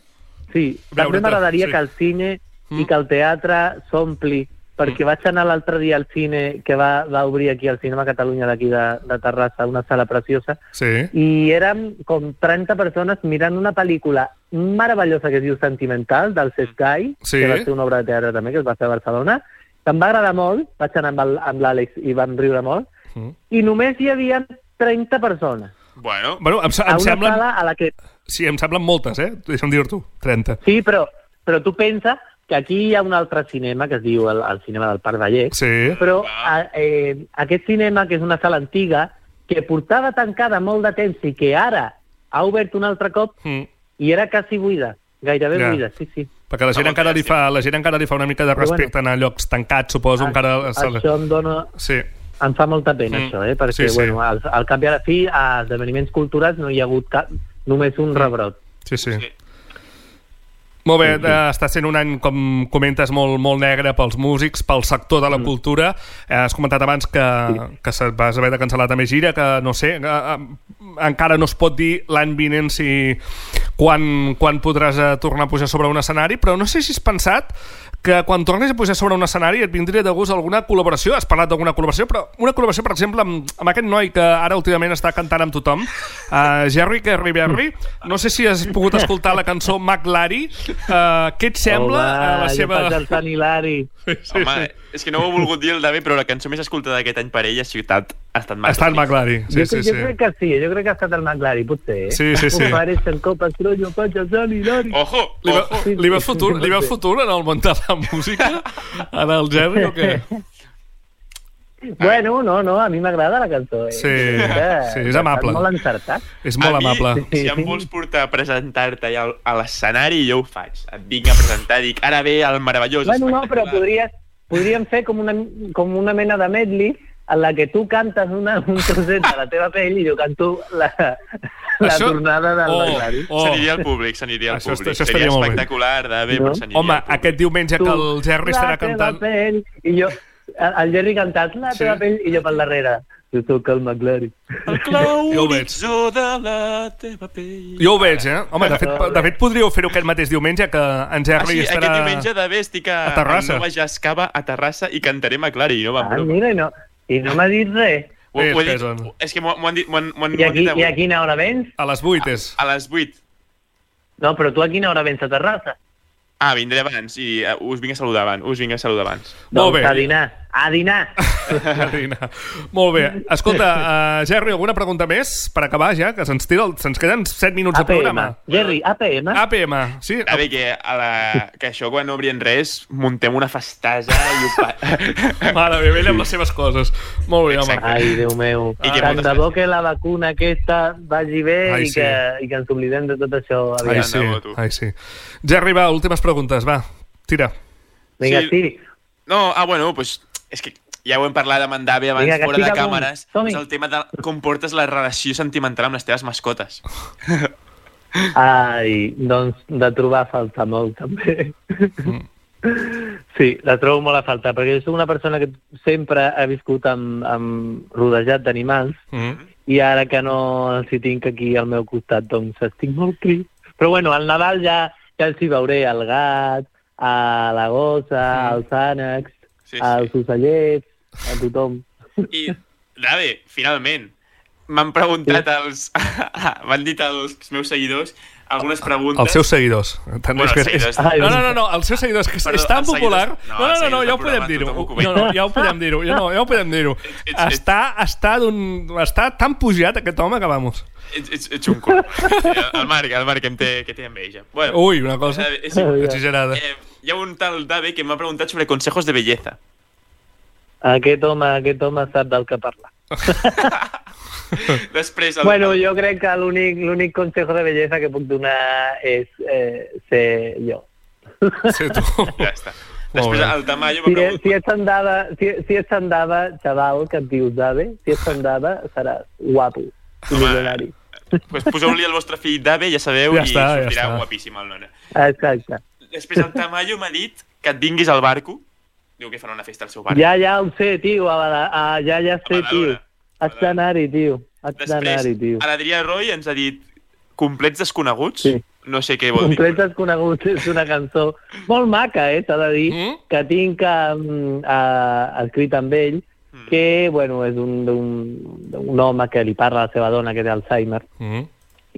Sí, també m'agradaria sí. que el cine i que el teatre s'ompli, perquè vaig anar l'altre dia al cine, que va, va obrir aquí al Cinema Catalunya d'aquí de, de Terrassa, una sala preciosa, Sí. i érem com 30 persones mirant una pel·lícula meravellosa que es diu Sentimental, del Seth Guy, Sí. que va ser una obra de teatre també, que es va fer a Barcelona, que em va agradar molt, vaig anar amb el- amb l'Àlex i vam riure molt, i només hi havia 30 persones. Bueno, bueno em, se- a em una semblen... sala a la que... Sí, em semblen moltes, eh? Deixa'm dir-t'ho. 30. Sí, però, però tu pensa que aquí hi ha un altre cinema que es diu el, el cinema del Parc Vallès, sí. però a, eh, aquest cinema, que és una sala antiga, que portava tancada molt de temps i que ara ha obert un altre cop Mm. i era quasi buida, gairebé Ja. ja. buida, sí, sí. Perquè la gent, encara li fa, la gent encara li fa una mica de Però bueno. Ah, respecte anar a llocs tancats, suposo, encara... Això em dona... Sí. Em fa molta pena, Mm. mm. això, eh? perquè Sí, sí. Bueno, al, al cap i a la fi, a esdeveniments culturals no hi ha hagut cap, només Mm. un rebrot. Sí, sí. sí. Molt bé, sí, està sent un any, com comentes, molt, molt negre pels músics, pel sector de la mm. cultura. Eh, Has comentat abans que, sí. que se- vas haver de cancel·lar també gira, que no sé, eh, eh, encara no es pot dir l'any vinent si quan, quan podràs eh, tornar a pujar sobre un escenari, però no sé si has pensat que quan tornis a pujar sobre un escenari et vindria de gust alguna col·laboració, has parlat d'alguna col·laboració, però una col·laboració, per exemple, amb, amb aquest noi que ara últimament està cantant amb tothom, uh, Jerry Kerry Berry, no sé si has pogut escoltar la cançó McLary, uh, què et sembla eh, la seva... jo faig el Sant Hilari. Sí, sí, Home, sí. és que no ho he volgut dir el David, però la cançó més escoltada aquest any per ell ha ciutat ha estat Marta. Està el McLary, sí, jo, sí, crec- jo sí. crec que sí, jo crec que ha estat el McLaren, potser. Eh? Sí, sí, Oh, sí. Un pare se'n copa, tronyo, faig el Sant Hilari. Ojo, Li, ve, li veus futur, li veus futur en el món de la música? En el Jerry o què? Bueno, no, no, a mi m'agrada la cançó. Eh? ah. Sí, Jo crec que sí, és amable. està Molt encertat. És molt a mi, amable. si em vols portar a presentar-te allà al- a l'escenari, jo ho faig. Et vinc a presentar, dic, ara ve el meravellós. Bueno, no, però podries, podríem fer com una, com una mena de medley en la que tu cantes una, [LAUGHS] un trosset de la teva pell i jo canto la, la Això- tornada del bailari. oh. S'aniria al públic, s'aniria al Això est- públic. això Seria estaria molt bé. espectacular, David, no? però s'aniria Home, al públic. aquest diumenge que el Jerry estarà la teva cantant... Pell, I jo, el el Jerry cantant la Sí. teva pell i jo pel darrere. Jo sóc el McLaren. Jo ho veig. Jo de la teva pell. Jo ho veig, eh? Home, de fet, de fet podríeu fer-ho aquest mateix diumenge, que en Ah, Jerry sí, estarà... aquest diumenge David estic a, a Terrassa. A Nova Jascava, a Terrassa, i cantaré McLaren. No, va, Ah, mira, i no, i no m'ha dit res. Ho, ho he Ves, dit, ves, és que m'ho m'ho han dit, m'ho han, m'ho han, I m'ho a, han qui, dit I avui. a quina hora vens? A les 8 és. A les 8. No, però tu a quina hora vens a Terrassa? Ah, vindré abans i uh, us vinc a saludar abans. Us vinc a saludar abans. Molt bé. Doncs A [LAUGHS] dinar. A dinar. Carina. Molt bé. Escolta, uh, Jerry, alguna pregunta més per acabar ja? Que se'ns tira, el- se'ns queden 7 minuts de APM. programa. Jerry, APM. APM, sí. A veure, que, a la... que això quan no obrien res, muntem una festasa i ho [LAUGHS] pa... Mare meva, ell amb les seves coses. Molt bé, home. Ai, Déu meu. I que Tant moltes de bo que la vacuna aquesta vagi bé Ai, i, sí. que, i que ens oblidem de tot això. Ai, aviam. sí, ai, sí. Jerry, va, últimes preguntes, va. Tira. Vinga, sí. [LAUGHS] No, ah, bueno, pues, és que ja ho hem parlat amb en Davi abans, Vinga, que fora de tira com, càmeres. som-hi. És el tema de com portes la relació sentimental amb les teves mascotes. Ai, doncs de trobar a faltar molt, també. Mm. [LAUGHS] Sí, la trobo molt a faltar, perquè jo soc una persona que sempre ha viscut amb, amb rodejat d'animals Mm. i ara que no els hi tinc aquí al meu costat, doncs estic molt trist. Però bueno, al Nadal ja, ja els hi veuré al gat, a la gossa, als ànecs, Sí, sí. als ocellets, a tothom. I, Dave, finalment, m'han preguntat els... [LAUGHS] M'han dit els meus seguidors algunes preguntes... Els seus seguidors. Tant Bueno, és els seguidors. és- doncs. No, no, no, no, els seus seguidors, que és, Perdó, és tan els popular... seguidors- no, No, no, no, no els seguidors ja ho del podem programa dir-ho. tothom ho No, no, ja ho podem dir-ho. Ja, no, ja ho podem dir-ho. Està, està, d'un- està tan pujat aquest home que, vamos... Ets, ets, ets un cul. Eh, [LAUGHS] El Marc, el Marc, que em té, que té enveja. Bueno, Ui, una cosa eh, és igual. exagerada. Eh, hi ha un tal Dave que m'ha preguntat sobre consejos de [LAUGHS] belleza. Aquest home, aquest home sap del que parla. Després, el, Bueno, jo crec que l'únic l'únic consejo de bellesa que puc donar és eh, ser jo. Ser tu. Ja està. Després Molt bé. el Tamayo m'ha Si, preguntat... si ets andava, si, si ets andava, xaval, que et dius Dave, si ets andava, seràs guapo i milionari. Pues poseu-li el vostre fill Dave, ja sabeu, Ja i està, ja sortirà està. guapíssim el nona. Exacte. Després el Tamayo m'ha dit que et vinguis al barco. Diu, diu que farà una festa al seu barri. Ja, ja ho sé, tio, a, Bada- a, ja, ja sé, tio. Has d'anar-hi, tio. Has d'anar-hi, tio. A l'Adrià Roy ens ha dit complets desconeguts, sí. no sé què vol dir. Complets desconeguts és una cançó molt maca, eh, s'ha de dir, mm? que tinc um, a, escrit amb ell, Mm. que, bueno, és un, un, un home que li parla a la seva dona, que té Alzheimer, Mm.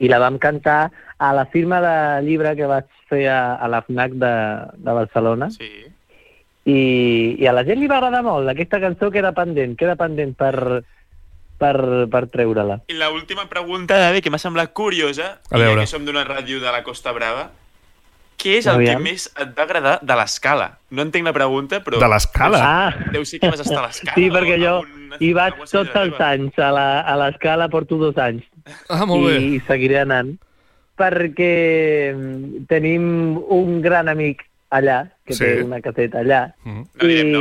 i la vam cantar a la firma de llibre que vaig fer a, a la FNAC de, de Barcelona. Sí. I, I a la gent li va agradar molt. Aquesta cançó queda pendent, queda pendent per, per, per treure-la. I l'última pregunta, David, que m'ha semblat curiosa, A ja veure. que som d'una ràdio de la Costa Brava, què és el Aviam. que més et va agradar de l'escala? No entenc la pregunta, però... De l'escala? Ah. Deu ser que vas estar a l'escala. Sí, perquè jo hi vaig tots els anys. A la- a l'escala porto dos anys. Ah, molt I, bé. I seguiré anant. Perquè mm, tenim un gran amic allà, que Sí. sí. té una caseta allà, Mm.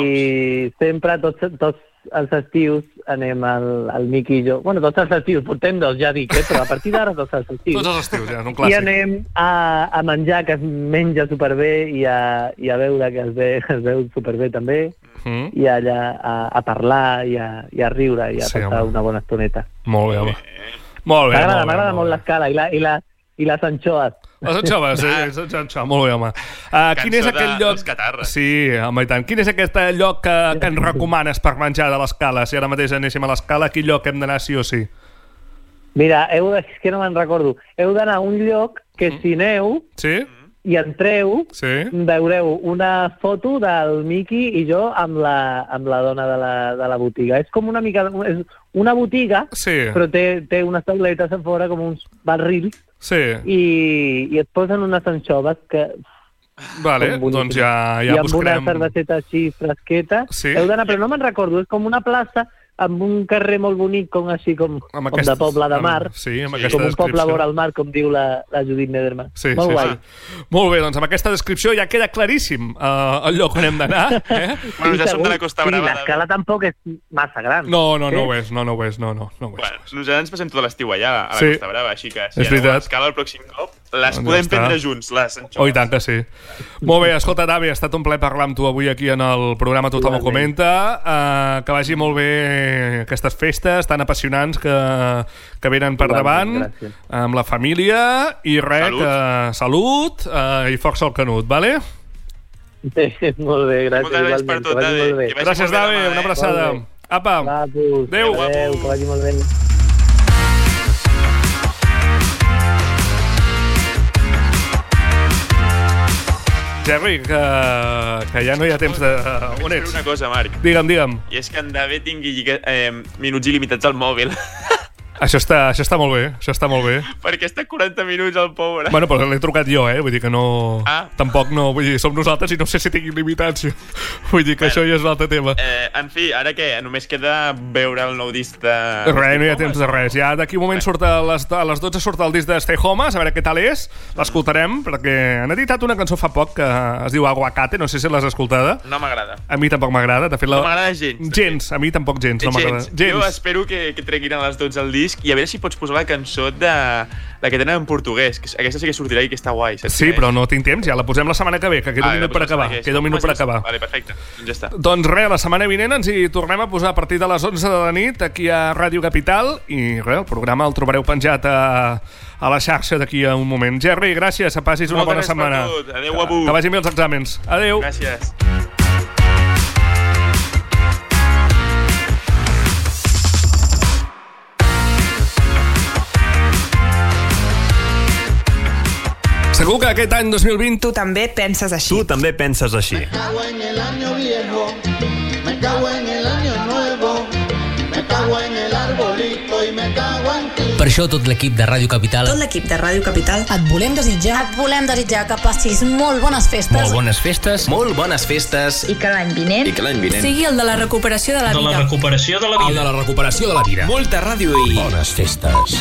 i sempre tots, tots els estius anem al, al Miqui i jo. Bueno, tots els estius, portem dos, ja dic, eh? però a partir d'ara tots els estius. Tots els estius, ja, un I clàssic. anem a, a menjar, que es menja superbé, i a, i a veure, que es, ve, [LAUGHS] es veu superbé també, Mm. i allà a, a parlar i a, i a riure i a Sí, sí, passar home. una bona estoneta. Molt bé, home. Eh. Molt bé, M'agrada, molt bé. m'agrada molt l'escala i, la, i, la, i les anchoas. Les anxoves, sí, les anxoves, eh? molt bé, home. Uh, quin Ah. Cançó és de- aquell lloc... dels catarres. Sí, home, i tant. Quin és aquest eh, lloc que, que ens recomanes per menjar de l'escala? Si ara mateix anéssim a l'escala, a quin lloc hem d'anar sí o sí? Mira, heu, de- és que no me'n recordo. Heu d'anar a un lloc que si aneu Sí? i entreu, Mm. Sí? veureu una foto del Miki i jo amb la, amb la dona de la, de la botiga. És com una mica... És una botiga, Sí. però té, té unes tauletes a fora, com uns barrils, Sí, i, i et posen unes anxoves que... vale, són boníssimes. doncs ja, ja I amb buscarem... una cerveseta així fresqueta. Sí. Heu d'anar, però no me'n recordo, és com una plaça amb un carrer molt bonic, com així com, com de poble de mar. Amb, sí, amb com aquesta un poble descripció. vora al mar, com diu la, la Judit Nederman. Sí, Molt sí, guai. Sí. Molt bé, doncs amb aquesta descripció ja queda claríssim eh, el lloc on hem d'anar. Eh? Sí, segur. sí, l'escala tampoc és massa gran. Eh? No, no, no ho Sí? és, no, no ho és, no, no, no ho és. Bueno, nosaltres ens passem tot l'estiu allà, a la Sí. Costa Brava, així que És si aneu a veritat. l'escala el pròxim cop, les Doncs ja podem està. prendre junts, les Oh, i anxoves. tant que sí. Molt bé, escolta, Davi, ha estat un plaer parlar amb tu avui aquí en el programa Tothom ho comenta. Uh, que vagi molt bé aquestes festes tan apassionants que, que venen per Igualment, davant amb la família i res, Salut. salut, que, salut uh, i força al canut, vale? Sí, [LAUGHS] molt bé, gràcies. Moltes gràcies per igualment, tot, que vagi Dave. molt bé. Que vagi Gràcies, molt bé Dave, demà, una eh? abraçada. Molt bé. Apa. Guapos. Adéu. Adéu, que vagi molt bé. Jerry, que, que ja no hi ha temps de... On ets? Una cosa, Marc. Digue'm, digue'm. I és que en David tingui lliga- eh, minuts il·limitats al mòbil, Això està, això està molt bé, això està molt bé. perquè està 40 minuts al pobre. Bueno, però l'he trucat jo, eh? Vull dir que no... Ah. Tampoc no... Vull dir, som nosaltres i no sé si tinc limitats. [LAUGHS] Vull dir que això ja és un altre tema. Eh, en fi, ara què? Només queda veure el nou disc de... Res, no hi ha temps eh? de res. Ja d'aquí un moment surt a les, a les 12 surt el disc de Stay Home, a veure què tal és. L'escoltarem, perquè han editat una cançó fa poc que es diu Aguacate, no sé si l'has escoltada. No m'agrada. A mi tampoc m'agrada. De fet, la... No m'agrada gens. Gens, a mi tampoc gens. No m'agrada. gens. Jo espero que, que treguin a les 12 el disc i a veure si pots posar la cançó de la que tenen en portuguès, que aquesta sí que sortirà i que està guai, saps? Sí, però no tinc temps, ja la posem la setmana que ve, que queda un Vale, minut per Ah, doncs la posem acabar. aquesta. Queda un minut per Comença- acabar. Vale, perfecte. Doncs ja està. Doncs res, la setmana vinent ens hi tornem a posar a partir de les 11 de la nit aquí a Ràdio Capital i res, el programa el trobareu penjat a, a la xarxa d'aquí a un moment. Gerri, gràcies, que passis una Moltes gràcies bona per setmana. tot. Adéu, guapo. Que, que vagin bé els exàmens. Adéu. Gràcies. Segur que aquest any 2020... Tu també penses així. Tu també penses així. cago en el año viejo, me cago en el año nuevo, me cago en el arbolito y me cago en ti. Per això tot l'equip de Ràdio Capital l'equip de Ràdio Capital Et volem desitjar, et volem desitjar que passis molt bones festes molt bones festes, molt bones festes i que l'any vinent que l'any sigui el de la recuperació de la vida. recuperació de la vida. El de la recuperació de la vida. Molta ràdio i bones festes.